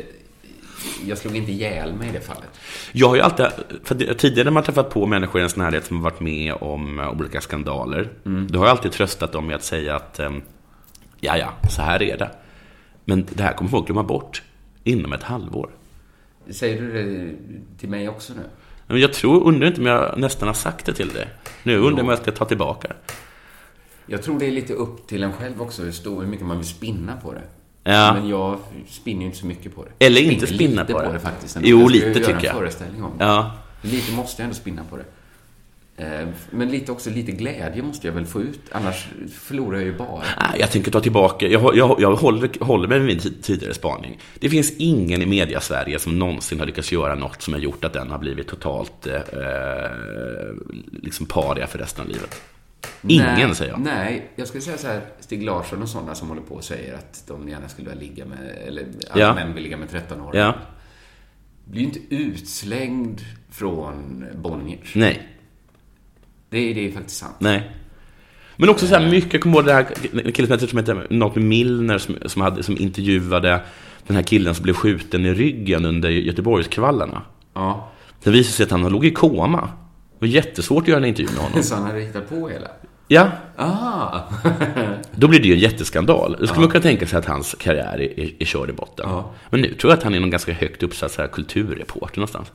S3: jag slog inte ihjäl mig i det fallet.
S4: Jag har ju alltid, för att tidigare när man träffat på människor i ens närhet som har varit med om eh, olika skandaler, då har jag alltid tröstat dem med att säga att ehm, ja, ja, så här är det. Men det här kommer folk glömma bort inom ett halvår.
S3: Säger du det till mig också nu?
S4: Men jag tror, undrar inte om jag nästan har sagt det till dig. Nu undrar jag om jag ska ta tillbaka det.
S3: Jag tror det är lite upp till en själv också hur, stor, hur mycket man vill spinna på det.
S4: Ja.
S3: Men jag spinner ju inte så mycket på det.
S4: Eller inte
S3: Spinner
S4: spinna
S3: lite
S4: på det.
S3: faktiskt.
S4: Jo,
S3: ska ju
S4: lite
S3: göra
S4: tycker jag.
S3: en föreställning om det.
S4: Ja,
S3: Lite måste jag ändå spinna på det. Eh, Men lite också lite glädje måste jag väl få ut, annars förlorar jag ju bara.
S4: Nej, jag tänker ta tillbaka. Jag, jag, jag håller, håller mig med min ti- tidigare spaning. Det finns ingen i media-Sverige som någonsin har lyckats göra något som har gjort att den har blivit totalt eh, eh, liksom paria för resten av livet. Ingen,
S3: nej,
S4: säger jag.
S3: Nej, jag skulle säga så här, Stig Larsson och sådana som håller på och säger att de gärna skulle vilja ligga med, eller att
S4: Ja.
S3: män vill ligga med 13-åringar.
S4: Ja,
S3: Blir ju inte utslängd från Bonniers.
S4: nej,
S3: Det, är- det är faktiskt sant.
S4: nej. Men också så här mycket, jag kommer ihåg det här en kille som heter- som hette något med Milner som, som, hade, som intervjuade den här killen som blev skjuten i ryggen under Göteborgskvallarna.
S3: Ja. [laughs]
S4: Det visade sig att han låg i koma. Det var jättesvårt att göra en intervju med honom.
S3: Så han hade hittat på hela.
S4: Ja,
S3: Ah!
S4: då blir det ju en jätteskandal. Då skulle man kunna tänka sig att hans karriär är, är, är körd i botten.
S3: Ja.
S4: Men nu tror jag att han är någon ganska högt uppsatt så här, kulturreporter någonstans.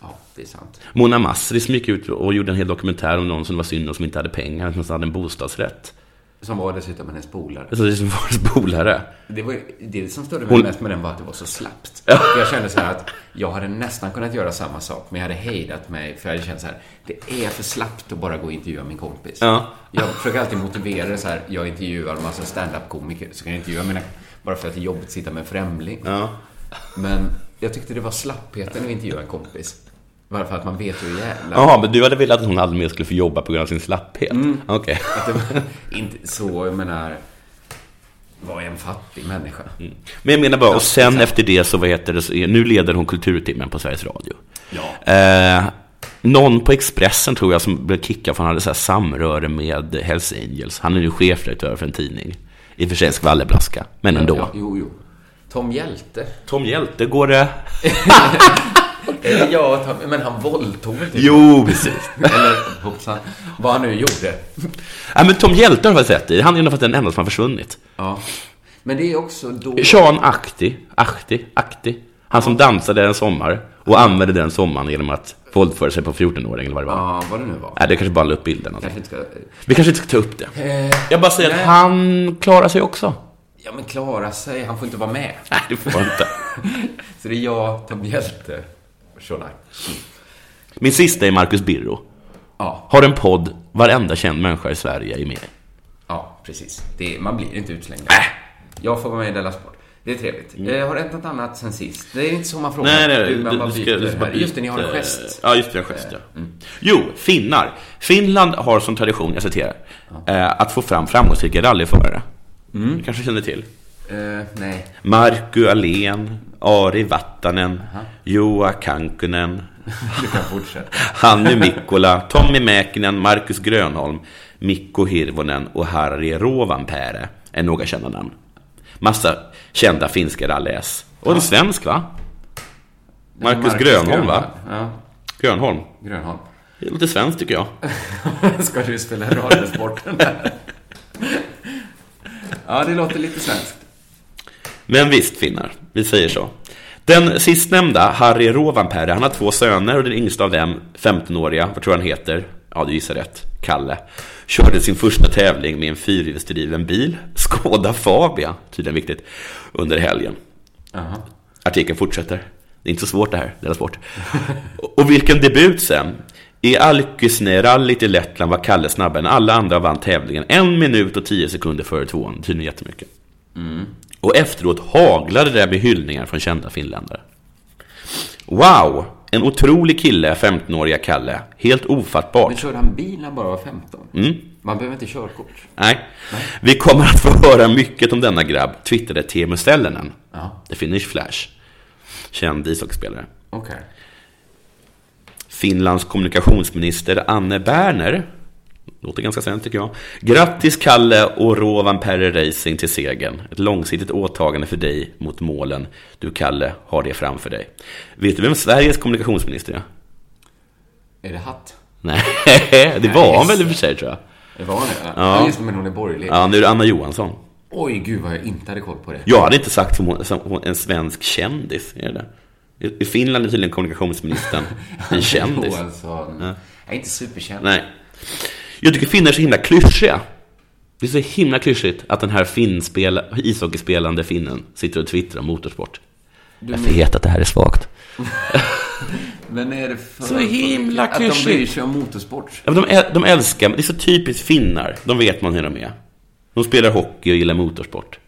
S3: ja, det är sant.
S4: Mona Masri som gick ut och gjorde en hel dokumentär om någon som det var synd om som inte hade pengar, som hade en bostadsrätt.
S3: Som var dessutom hennes polare.
S4: Alltså det är som [laughs] var polare.
S3: Det, var, det som störde mig mest med den var att det var så slappt. Jag kände så här att jag hade nästan kunnat göra samma sak, men jag hade hejdat mig för jag hade känt så här, det är för slappt att bara gå och intervjua min kompis.
S4: Ja.
S3: Jag försöker alltid motivera det så här, jag intervjuar en massa standup-komiker, så kan jag intervjua mina, bara för att det är jobbigt att sitta med en främling.
S4: Ja.
S3: Men jag tyckte det var slappheten att intervjua en kompis. Bara för att man vet hur jävla...
S4: Jaha, men du hade velat att hon aldrig mer skulle få jobba på grund av sin slapphet? Okej.
S3: Att det var inte så, jag menar, var jag en fattig människa?
S4: Men jag menar bara, och sen efter det så, vad heter det, så är- nu leder hon Kulturtimmen på Sveriges Radio.
S3: Ja.
S4: Eh, någon på Expressen tror jag som blev kickad för han hade så här samröre med Hells Angels. Han är nu chefredaktör för en tidning. I och för sig en skvallerblaska, men ändå.
S3: Ja, jo, jo. Tom Hjälte.
S4: Tom Hjälte, går det?
S3: Eh, Ja, Tom, men han våldtog väl typ?
S4: Jo, precis.
S3: Eller hoppsan, vad han nu gjorde.
S4: Ja, men Tom Hjälte har jag sett i. Han är nog den enda som har försvunnit.
S3: Ja. Men det är också då...
S4: Sean Akti, Akti, Akti. Han som dansade en sommar och använde den sommaren genom att våldföra sig på 14-åring eller vad det var.
S3: Ja, vad det nu var.
S4: Nej, det kanske bara la upp bilden.
S3: Kanske inte ska...
S4: Vi kanske inte ska ta upp det.
S3: Eh,
S4: Jag bara säger att
S3: nej.
S4: han klarar sig också.
S3: Ja, men klara sig. Han får inte vara med.
S4: Nej, det får han inte.
S3: Så det är jag, Tom Hjälte, Sean Ackley.
S4: Min sista är Marcus Birro.
S3: Ja,
S4: Har en podd, varenda känd människa i Sverige är med i.
S3: ja, precis. Det, man blir inte utslängd. Jag får vara med i Della Sport. Det är trevligt. Eh, har det hänt något annat sen sist? Det är inte så man frågar. Du, man bara byter här. Just det, ni har en gest.
S4: Ja, just det, en gest, ja. Mm. Jo, finnar. Finland har som tradition, jag citerar, eh, att få fram framgångsrika rallyförare.
S3: Mm.
S4: Du kanske känner till?
S3: Eh, nej.
S4: Markku Alén, Ari Vattanen, Juha Kankkunen,
S3: Du kan fortsätta.
S4: Hannu Mikkola, Tommi Mäkinen, Marcus Grönholm, Mikko Hirvonen och Harri Rovanperä är några kända namn. Massa kända finska rallyes. Och en svensk va? Marcus, Grönholm va?
S3: Ja,
S4: Grönholm.
S3: Grönholm.
S4: Det är lite svenskt tycker jag.
S3: [laughs] Ska du spela Radiosporten där? [laughs] ja, det låter lite svenskt.
S4: Men visst finnar, vi säger så. Den sistnämnda, Harri Rovanperä, han har två söner och den yngsta av dem, 15-åriga, vad tror jag han heter? Ja, du gissar rätt. Kalle. Körde sin första tävling med en fyrhjulsdriven bil, Skoda Fabia, tydligen viktigt, under helgen.
S3: Jaha.
S4: Artikeln fortsätter. Det är inte så svårt det här, det är svårt. [laughs] Och vilken debut sen! I Alkysne-rallyt i Lettland var Kalle snabbare än alla andra och vann tävlingen en minut och tio sekunder före tvåan. Det Tydligen jättemycket.
S3: Mm.
S4: Och efteråt haglade det med hyllningar från kända finländare. Wow! En otrolig kille, 15-åriga Kalle. Helt ofattbart.
S3: Men körde han bil när han bara var 15?
S4: Mm.
S3: Man behöver inte körkort.
S4: Nej. Vi kommer att få höra mycket om denna grabb, twittrade Teemu Sellinen.
S3: Ja.
S4: The Finnish Flash. Känd ishockeyspelare.
S3: Okej.
S4: Finlands kommunikationsminister Anne Berner. Låter ganska sent tycker jag. Grattis Kalle och Rovanperä Racing till segern. Ett långsiktigt åtagande för dig mot målen. Du Kalle har det framför dig. Vet du vem Sveriges kommunikationsminister är?
S3: Är det hatt?
S4: Nej, [laughs] det var han väl i och för sig tror jag.
S3: Det var han det? Ja. Just det, men hon är borgerlig.
S4: Ja, nu är det Anna Johansson.
S3: Oj, gud vad jag inte hade koll på det.
S4: Jag hade inte sagt som, hon, som hon, en svensk kändis. Är det där? I- I Finland är tydligen kommunikationsministern en kändis.
S3: Johansson. alltså, Jag är inte superkänd.
S4: Nej. Jag tycker finnar är så himla klyschiga. Det är så himla klyschigt att den här finspel, ishockeyspelande finnen sitter och twittrar om motorsport.
S3: Du,
S4: Jag
S3: men-
S4: vet att det här är svagt.
S3: men är det för...
S4: Så himla
S3: Att de bryr
S4: klyschigt.
S3: sig om motorsport?
S4: Ja, men de, äl- de älskar, det är så typiskt finnar. De vet man hur de är. De spelar hockey och gillar motorsport.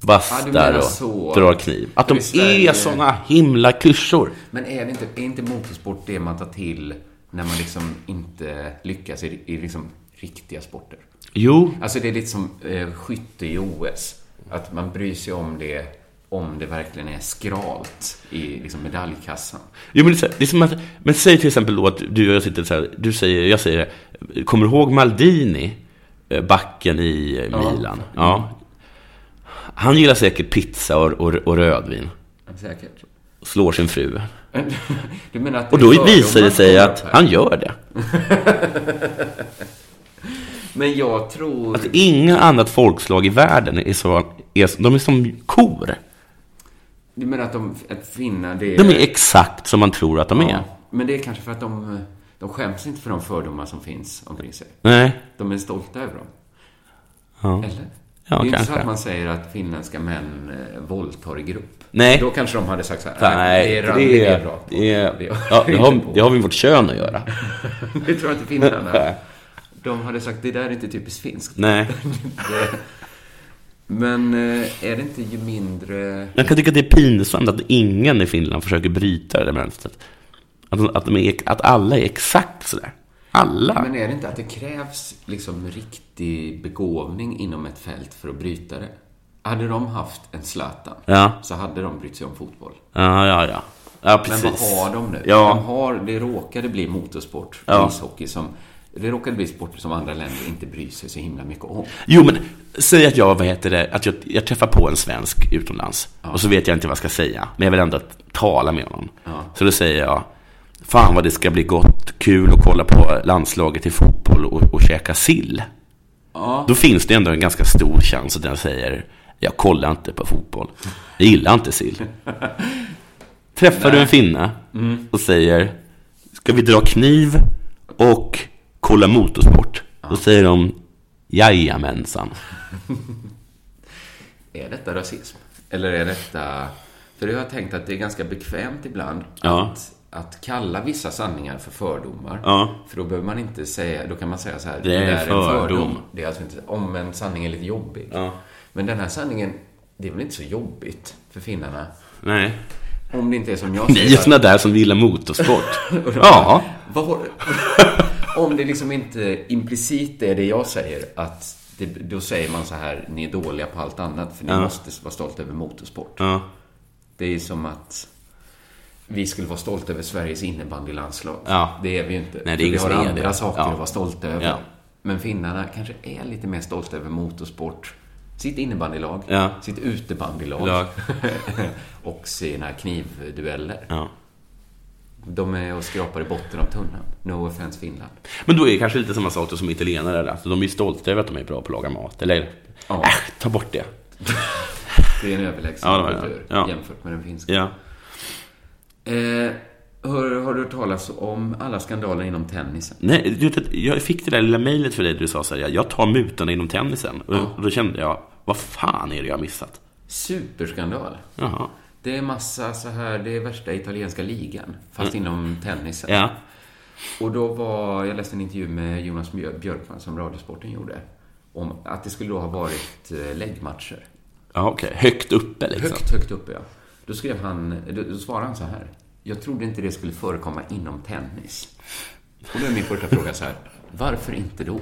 S4: Bastar
S3: menar
S4: och
S3: så.
S4: drar kniv. Att de
S3: I Sverige-
S4: är såna himla klyschor.
S3: Men är, det inte, är inte motorsport det man tar till när man liksom inte lyckas i, i liksom riktiga sporter?
S4: Jo,
S3: Alltså det är lite som eh, skytte i OS. Att man bryr sig om det om det verkligen är skralt i liksom, medaljkassan.
S4: Jo, men, det är så här, det är som att, men säg till exempel då att du och jag sitter så här, du säger, jag säger, kommer du ihåg Maldini, eh, backen i eh, Milan? Ja. Han gillar säkert pizza och, och, och rödvin,
S3: Säkert.
S4: slår sin fru.
S3: [laughs] Du menar att
S4: Och
S3: är
S4: då
S3: fördomar
S4: visar det sig
S3: som
S4: att
S3: kommer upp här?
S4: han gör det.
S3: Men jag tror...
S4: Att inget annat folkslag i världen är så... Är, de är som kor.
S3: Du menar att, de, att finna det...
S4: De är exakt som man tror att de är.
S3: Men det är kanske för att de, eh, de skäms inte för de fördomar som finns omkring sig.
S4: Nej.
S3: De är stolta över dem.
S4: Ja.
S3: Eller?
S4: Mm. Ja,
S3: det är inte så
S4: kanske.
S3: att man säger att finländska män eh, våldtar i grupp.
S4: Nej.
S3: Då kanske de hade sagt så här.
S4: Nej,
S3: det är
S4: för
S3: randigt, det är bra. på.
S4: det är-
S3: [laughs] Det-
S4: ja, [laughs] det, har,
S3: på.
S4: det har med vårt kön att göra.
S3: [laughs] Det tror jag inte finnarna. De hade sagt, det där är inte typiskt finskt.
S4: Nej.
S3: Det- Men eh, är det inte ju mindre...
S4: Jag kan tycka att det är pinsamt att ingen i Finland försöker bryta det där mönstret. Att, de- att, de är, att alla är exakt sådär. Alla.
S3: Men är det inte att det krävs liksom riktig begåvning inom ett fält för att bryta det? Hade de haft en Zlatan
S4: Ja.
S3: så hade de brytt sig om fotboll.
S4: Ja, ja, ja. Ja,
S3: Men
S4: precis.
S3: vad har de nu?
S4: Ja.
S3: De har, det råkade bli motorsport,
S4: Ja.
S3: ishockey, som... Det råkade bli sporter som andra länder inte bryr sig så himla mycket om.
S4: Jo, men säg att jag, vad heter det, att jag, jag träffar på en svensk utomlands. Och så vet jag inte vad jag ska säga. Men jag vill ändå tala med honom. Så då säger jag, fan vad det ska bli gott, kul att kolla på landslaget i fotboll och, och käka sill.
S3: Ja.
S4: Då finns det ändå en ganska stor chans att den säger, jag kollar inte på fotboll. Jag gillar inte [laughs] sill. Träffar du en finne och säger, ska vi dra kniv och kolla motorsport? Då säger de, jajamensan.
S3: Är detta rasism? Eller är detta... För jag har tänkt att det är ganska bekvämt ibland
S4: Ja.
S3: att, att kalla vissa sanningar för fördomar.
S4: Ja.
S3: För då behöver man inte säga... Då kan man säga så här.
S4: Det är
S3: där
S4: fördom.
S3: Det är alltså inte... Om en sanning är lite jobbig.
S4: Ja.
S3: Men den här sanningen, det är väl inte så jobbigt för finnarna?
S4: Nej.
S3: Om det inte är
S4: [laughs]
S3: som jag
S4: Ni är
S3: säger.
S4: såna där som gillar motorsport. [laughs]
S3: Och då-
S4: ja.
S3: Vad har, [laughs] om det liksom inte implicit är det jag säger, att det, då säger man så här, ni är dåliga på allt annat, för ni måste vara stolta över motorsport.
S4: ja.
S3: Det är som att vi skulle vara stolta över Sveriges innebandylandslag.
S4: Ja,
S3: Det är vi ju inte.
S4: det är
S3: vi
S4: ingen
S3: har
S4: som är
S3: andra
S4: det.
S3: saker
S4: Ja.
S3: att vara stolta över.
S4: Ja.
S3: Men finnarna kanske är lite mer stolta över motorsport. Sitt innebandylag,
S4: Ja.
S3: sitt utebandylag
S4: Lag.
S3: [laughs] och sina knivdueller.
S4: ja.
S3: De är och skrapar i botten av tunnan. No offense Finland.
S4: Men då är det kanske lite samma sak som italienare. Alltså, de är ju stolta över att de är bra på att laga mat. Eller?
S3: Ja.
S4: Äh, ta bort det.
S3: Det är en överlägsen
S4: Ja, det var det.
S3: kultur
S4: Ja.
S3: jämfört med den finska.
S4: Ja.
S3: Eh, hör, har du hört talas om alla skandaler inom tennisen?
S4: Nej, du, vet att jag fick det där lilla mejlet för dig där du sa så här, jag tar mutorna inom tennisen. Och och då kände jag, vad fan är det jag har missat?
S3: Superskandal.
S4: Jaha.
S3: Det är massa så här, det är värsta italienska ligan, fast inom tennisen.
S4: Ja.
S3: Och då var, jag läste en intervju med Jonas Mjö- Björkman som Radiosporten gjorde, om att det skulle då ha varit eh, läggmatcher.
S4: Ja, okej. Högt uppe liksom.
S3: Högt, högt uppe, ja. Då skrev han, då, då svarade han så här. Jag trodde inte det skulle förekomma inom tennis. Och då är min första fråga så här. Varför inte då?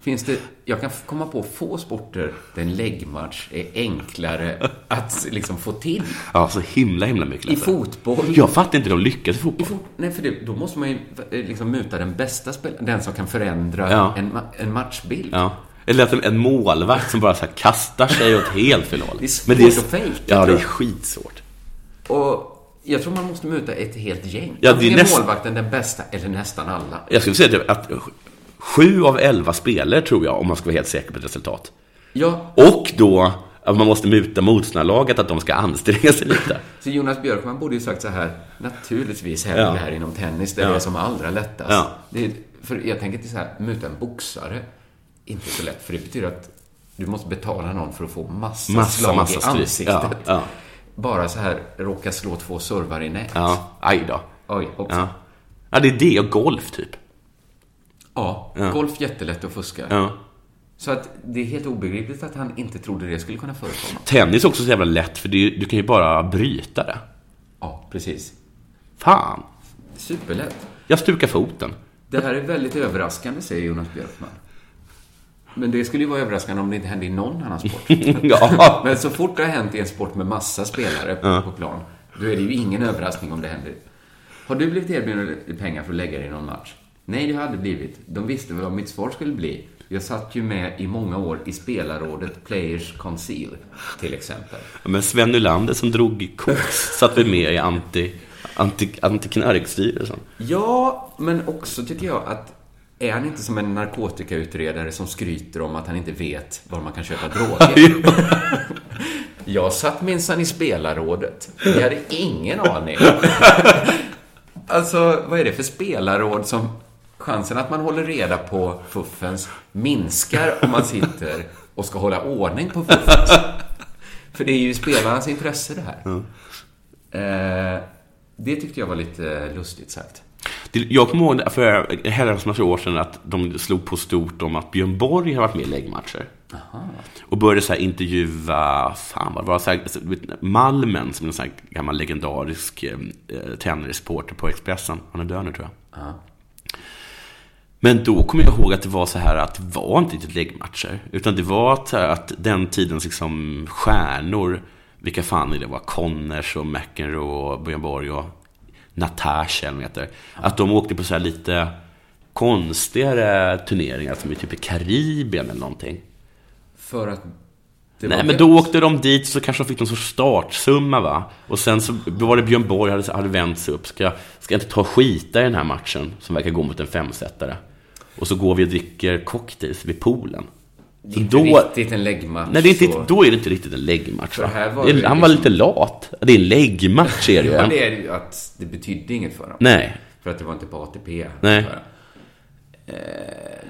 S3: Finns det, jag kan f- komma på få sporter där en läggmatch är enklare att liksom få till.
S4: Ja, så himla, himla mycket
S3: I
S4: lättare.
S3: fotboll.
S4: Jag fattar inte hur de lyckas i
S3: I
S4: fotboll.
S3: fot- Nej, för det, då måste man ju eh, liksom muta den bästa spelaren, den som kan förändra
S4: Ja.
S3: en, ma- en matchbild.
S4: Ja. Eller att en- en målvakt som bara så här kastar sig åt helt fel håll.
S3: Det är svårt
S4: Men
S3: att fejka,
S4: Ja, det
S3: tror
S4: är
S3: jag.
S4: skitsvårt.
S3: Och jag tror man måste muta ett helt gäng.
S4: Ja, det är
S3: Antingen
S4: näst-
S3: målvakten, den bästa, eller nästan alla.
S4: Jag skulle säga att att sju av elva spelare tror jag, om man ska vara helt säker på ett resultat.
S3: Ja,
S4: Och då att man måste muta motståndarlaget att de ska anstränga sig
S3: [laughs]
S4: lite.
S3: Så Jonas Björkman borde ju sagt så här, naturligtvis händer
S4: Ja.
S3: det här inom tennis, där det är som allra lättast.
S4: Ja.
S3: Det är, för jag tänker till så här, muta en boxare, inte så lätt, för det betyder att du måste betala någon för att få massa,
S4: Massa,
S3: slag
S4: massa
S3: i
S4: stryk.
S3: ansiktet.
S4: Ja, ja.
S3: Bara så här, råka slå två servar i nät.
S4: Ja, aj då.
S3: Oj, hoppsan.
S4: Ja. ja, det är det och golf typ.
S3: Ja. golf jättelätt att fuska.
S4: Ja.
S3: Så att det är helt obegripligt att han inte trodde det skulle kunna förekomma.
S4: Tennis är också så jävla lätt, för det är, ju- du kan ju bara bryta det.
S3: Ja, precis.
S4: Fan,
S3: Superlätt.
S4: jag stukar foten. [laughs]
S3: Det här är väldigt överraskande, säger Jonas Björkman. Men det skulle ju vara överraskande om det inte hände i någon annan sport. [laughs]
S4: Ja.
S3: Men så fort det har hänt i en sport med massa spelare på- på plan, då är det ju ingen överraskning om det händer. Har du blivit erbjuden pengar för att lägga dig i någon match? Nej, det har jag aldrig blivit. De visste väl vad mitt svar skulle bli. Jag satt ju med i många år i spelarrådet Players Conceal, till exempel.
S4: Men Sven Nylander som drog i koks satt väl med i anti, anti, antiknarkstyrelsen.
S3: Ja, men också tycker jag att Är han inte som en narkotikautredare som skryter om att han inte vet var man kan köpa droger? Jag satt minsann i spelarrådet. Jag hade ingen aning. Alltså, vad är det för spelarråd som... Chansen att man håller reda på fuffens minskar om man sitter och ska hålla ordning på fuffens. För det är ju i spelarnas intresse det här. Eh, det tyckte jag var lite lustigt sagt.
S4: Det- Jag kommer ihåg för herrans massa år sedan att de slog på stort om att Björn Borg har varit med i läggmatcher. Och började så här intervjua, fan vad var det, så här, så- vet ni, Malmen som är en sån här gammal legendarisk eh, eh, tennisreporter på Expressen. Han är död nu tror jag.
S3: Ja.
S4: Men då kommer jag ihåg att det var så här att det var inte riktigt läggmatcher. Utan det var att, att den tidens liksom stjärnor, vilka fan är det var, Conners och McEnroe och Björn Borg och Natasha eller vad heter. Att de åkte på så här lite konstigare turneringar som är typ i Karibien eller någonting.
S3: För att... det
S4: Nej
S3: var
S4: men
S3: gött.
S4: då åkte de dit så kanske de fick någon sorts startsumma va? Och sen så var det Björn Borg hade, hade vänt sig upp. Ska, ska jag inte ta och skita i den här matchen som verkar gå mot en femsetare? Och så går vi och dricker cocktails vid poolen.
S3: Det
S4: Så
S3: är inte
S4: då,
S3: riktigt en läggmatch.
S4: nej, det är inte,
S3: så-
S4: då är det inte riktigt en läggmatch va?
S3: här var
S4: Det är-
S3: det
S4: han var
S3: liksom-
S4: lite lat. Det är en läggmatch är det ju.
S3: Ja,
S4: en-
S3: det är ju att det betydde inget för dem.
S4: Nej.
S3: För att det var inte på ATP.
S4: Nej.
S3: Bara.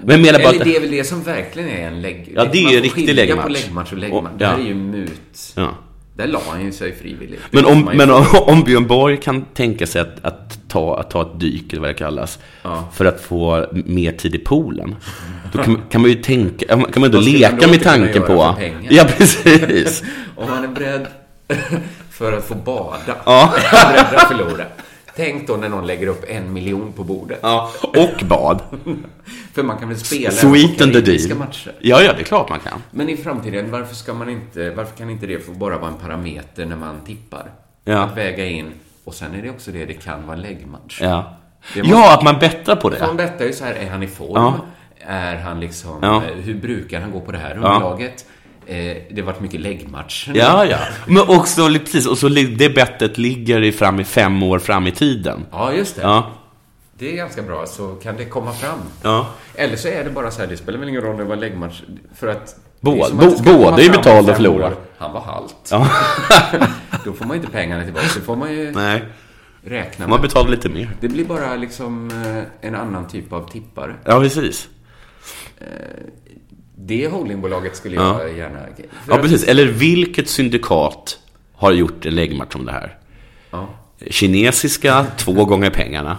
S4: Men jag menar bara
S3: Eller det
S4: att...
S3: är väl det som verkligen är en lägg...
S4: Ja, det är
S3: Man
S4: ju
S3: får
S4: riktig
S3: skilja på
S4: läggmatch.
S3: läggmatch och läggmatch.
S4: Och-
S3: Det här
S4: ja.
S3: är ju mut.
S4: Ja.
S3: Där la han ju sig frivilligt. Det
S4: Men om,
S3: måste Typ man ju-
S4: men om, om Björn Borg kan tänka sig att, att, ta, att ta ett dyk, eller vad det kallas,
S3: Ja.
S4: för att få mer tid i poolen, då kan, kan man ju tänka, kan man ändå
S3: Vad skulle han då
S4: leka med
S3: inte kunna
S4: tanken
S3: göra
S4: på...
S3: för pengar?
S4: Ja, precis.
S3: Om han är beredd [laughs] för att få bada.
S4: Ja.
S3: Han är beredd att förlora. Tänk då när någon lägger upp en miljon på bordet.
S4: ja. Och bad.
S3: För man kan väl spela
S4: Sweet and the
S3: karibiska
S4: deal.
S3: matcher.
S4: Ja, ja, det är klart man kan.
S3: Men i framtiden, varför, ska man inte, varför kan inte det få bara vara en parameter när man tippar?
S4: Ja.
S3: Att väga in. Och sen är det också det, det kan vara läggmatch.
S4: Ja,
S3: Det måste-
S4: ja att man bettar på
S3: Från
S4: det.
S3: detta är ju så här, är han i form?
S4: Ja.
S3: Är han liksom,
S4: Ja.
S3: eh, hur brukar han gå på det här underlaget? Eh, det har varit mycket läggmatcher.
S4: Ja, ja. Men också, li- precis, och så li- det bettet ligger i fram i fem år fram i tiden.
S3: Ja, just det.
S4: Ja.
S3: Det är ganska bra, så kan det komma fram.
S4: Ja.
S3: Eller så är det bara så här, det spelar väl ingen roll om det var läggmatch, för att...
S4: Båda-
S3: det är som att det ska
S4: båda
S3: komma
S4: är
S3: fram
S4: betalda
S3: om fem
S4: och förlorade.
S3: år. Han var halt.
S4: Ja.
S3: [laughs]
S4: [laughs]
S3: Då får man inte pengarna tillbaka, det får man ju
S4: Nej,
S3: räkna
S4: man
S3: med.
S4: betalar lite mer.
S3: Det blir bara liksom eh, en annan typ av tippare.
S4: Ja, precis.
S3: Det holdingbolaget skulle
S4: Ja.
S3: jag gärna... för
S4: Ja,
S3: att-
S4: precis. Eller vilket syndikat har gjort en läggmatch om det här?
S3: Ja.
S4: Kinesiska, två gånger pengarna.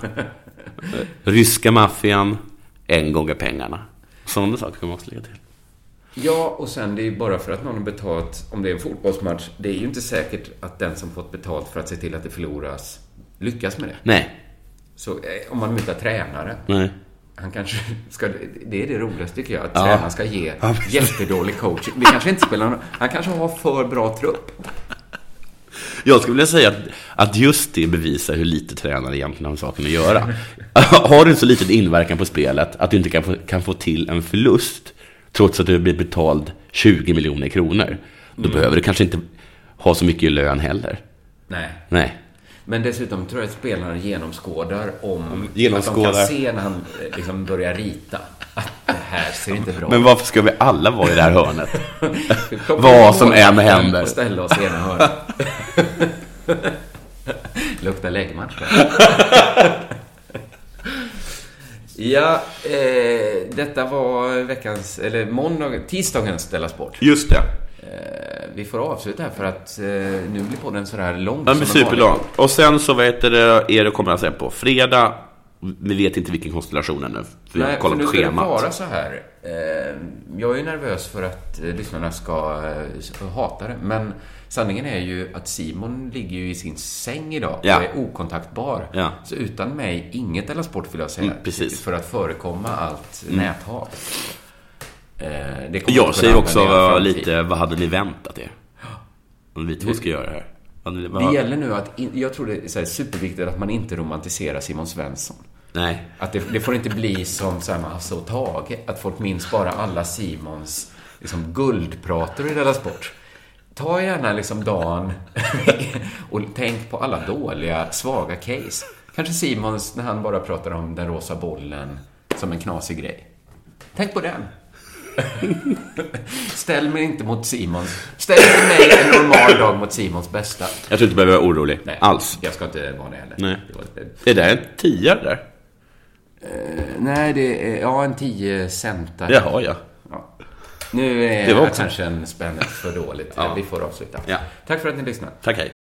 S4: Eh, Ryska maffian, en gånger pengarna. Sådana saker kan man också lägga till.
S3: Ja, och sen det är ju bara för att någon har betalt, om det är en fotbollsmatch, det är ju inte säkert att den som fått betalt för att se till att det förloras lyckas med det.
S4: Nej,
S3: Så eh, om man mutar tränare,
S4: nej.
S3: han kanske ska, det är det roligaste tycker jag, att
S4: Ja.
S3: tränaren ska ge
S4: Ja, precis.
S3: jättedålig coach. Det kanske inte spelar någon Han kanske har för bra trupp.
S4: Jag skulle vilja säga att, att just det bevisar hur lite tränare egentligen har med saken att göra. [laughs] har du en så liten inverkan på spelet att du inte kan få, kan få till en förlust trots att du blir betald 20 miljoner kronor, då behöver du kanske inte ha så mycket i lön heller.
S3: Nej.
S4: Nej.
S3: Men dessutom tror jag att spelarna genomskådar om...
S4: Mm, Genomskådar.
S3: Att de kan se när han eh, liksom börjar rita att det här ser inte bra
S4: Men varför ska vi alla vara i det här hörnet?
S3: Vi plockar
S4: Vad
S3: upp
S4: som än
S3: målvakten
S4: händer.
S3: Och ställa oss i ena hörnet. [laughs] Luktar läggmatch. [laughs] ja, eh, detta var veckans, eller måndag, tisdagens Della Sport.
S4: [laughs] Just det.
S3: Eh, vi får avsluta här för att eh, nu blir podden sådär lång.
S4: Den
S3: som
S4: blir
S3: den
S4: superlång.
S3: vanliga.
S4: Och sen så vet det, är det kommer han sen på fredag. Vi vet inte vilken konstellation ännu. För vi har
S3: Nej, för
S4: typ kollat
S3: nu
S4: på
S3: ska det
S4: schemat.
S3: vara så här. Eh, jag är ju nervös för att eh, lyssnarna ska eh, hata det, men sanningen är ju att Simon ligger ju i sin säng idag
S4: Ja.
S3: och är okontaktbar.
S4: Ja.
S3: Så utan mig, inget eller sport vill jag säga.
S4: Mm, precis. Mm.
S3: För att förekomma allt näthat. Eh, det kommer
S4: Jag
S3: inte
S4: säger
S3: kunna
S4: också
S3: använda i all
S4: vad,
S3: framtid.
S4: lite, vad hade ni väntat er? Om vi två ska göra det här. Vad hade ni- vad-
S3: Det gäller nu att, in, jag tror det är så här superviktigt att man inte romantiserar Simon Svensson.
S4: Nej.
S3: Att det, det får inte bli som så här med Hasse och Tage, att folk minns bara alla Simons liksom, guldprator i Della Sport. Ta gärna liksom dagen [laughs] och tänk på alla dåliga, svaga case. Kanske Simons när han bara pratar om den rosa bollen som en knasig grej. Tänk på den. [laughs] Ställ mig inte mot Simons... Ställ inte mig en normal dag mot Simons bästa.
S4: Jag tror inte du behöver vara orolig.
S3: Nej,
S4: Alls.
S3: Jag ska inte vara det heller.
S4: Nej.
S3: Det var lite-
S4: Det där är en tia det där.
S3: Nej, det är... Ja, en 10 centa.
S4: Det har jag.
S3: Ja. Nu är
S4: Det var
S3: det
S4: också-
S3: kanske en spänn för dåligt. Vi får avsluta.
S4: Ja.
S3: Tack för att ni lyssnade.
S4: Tack, hej.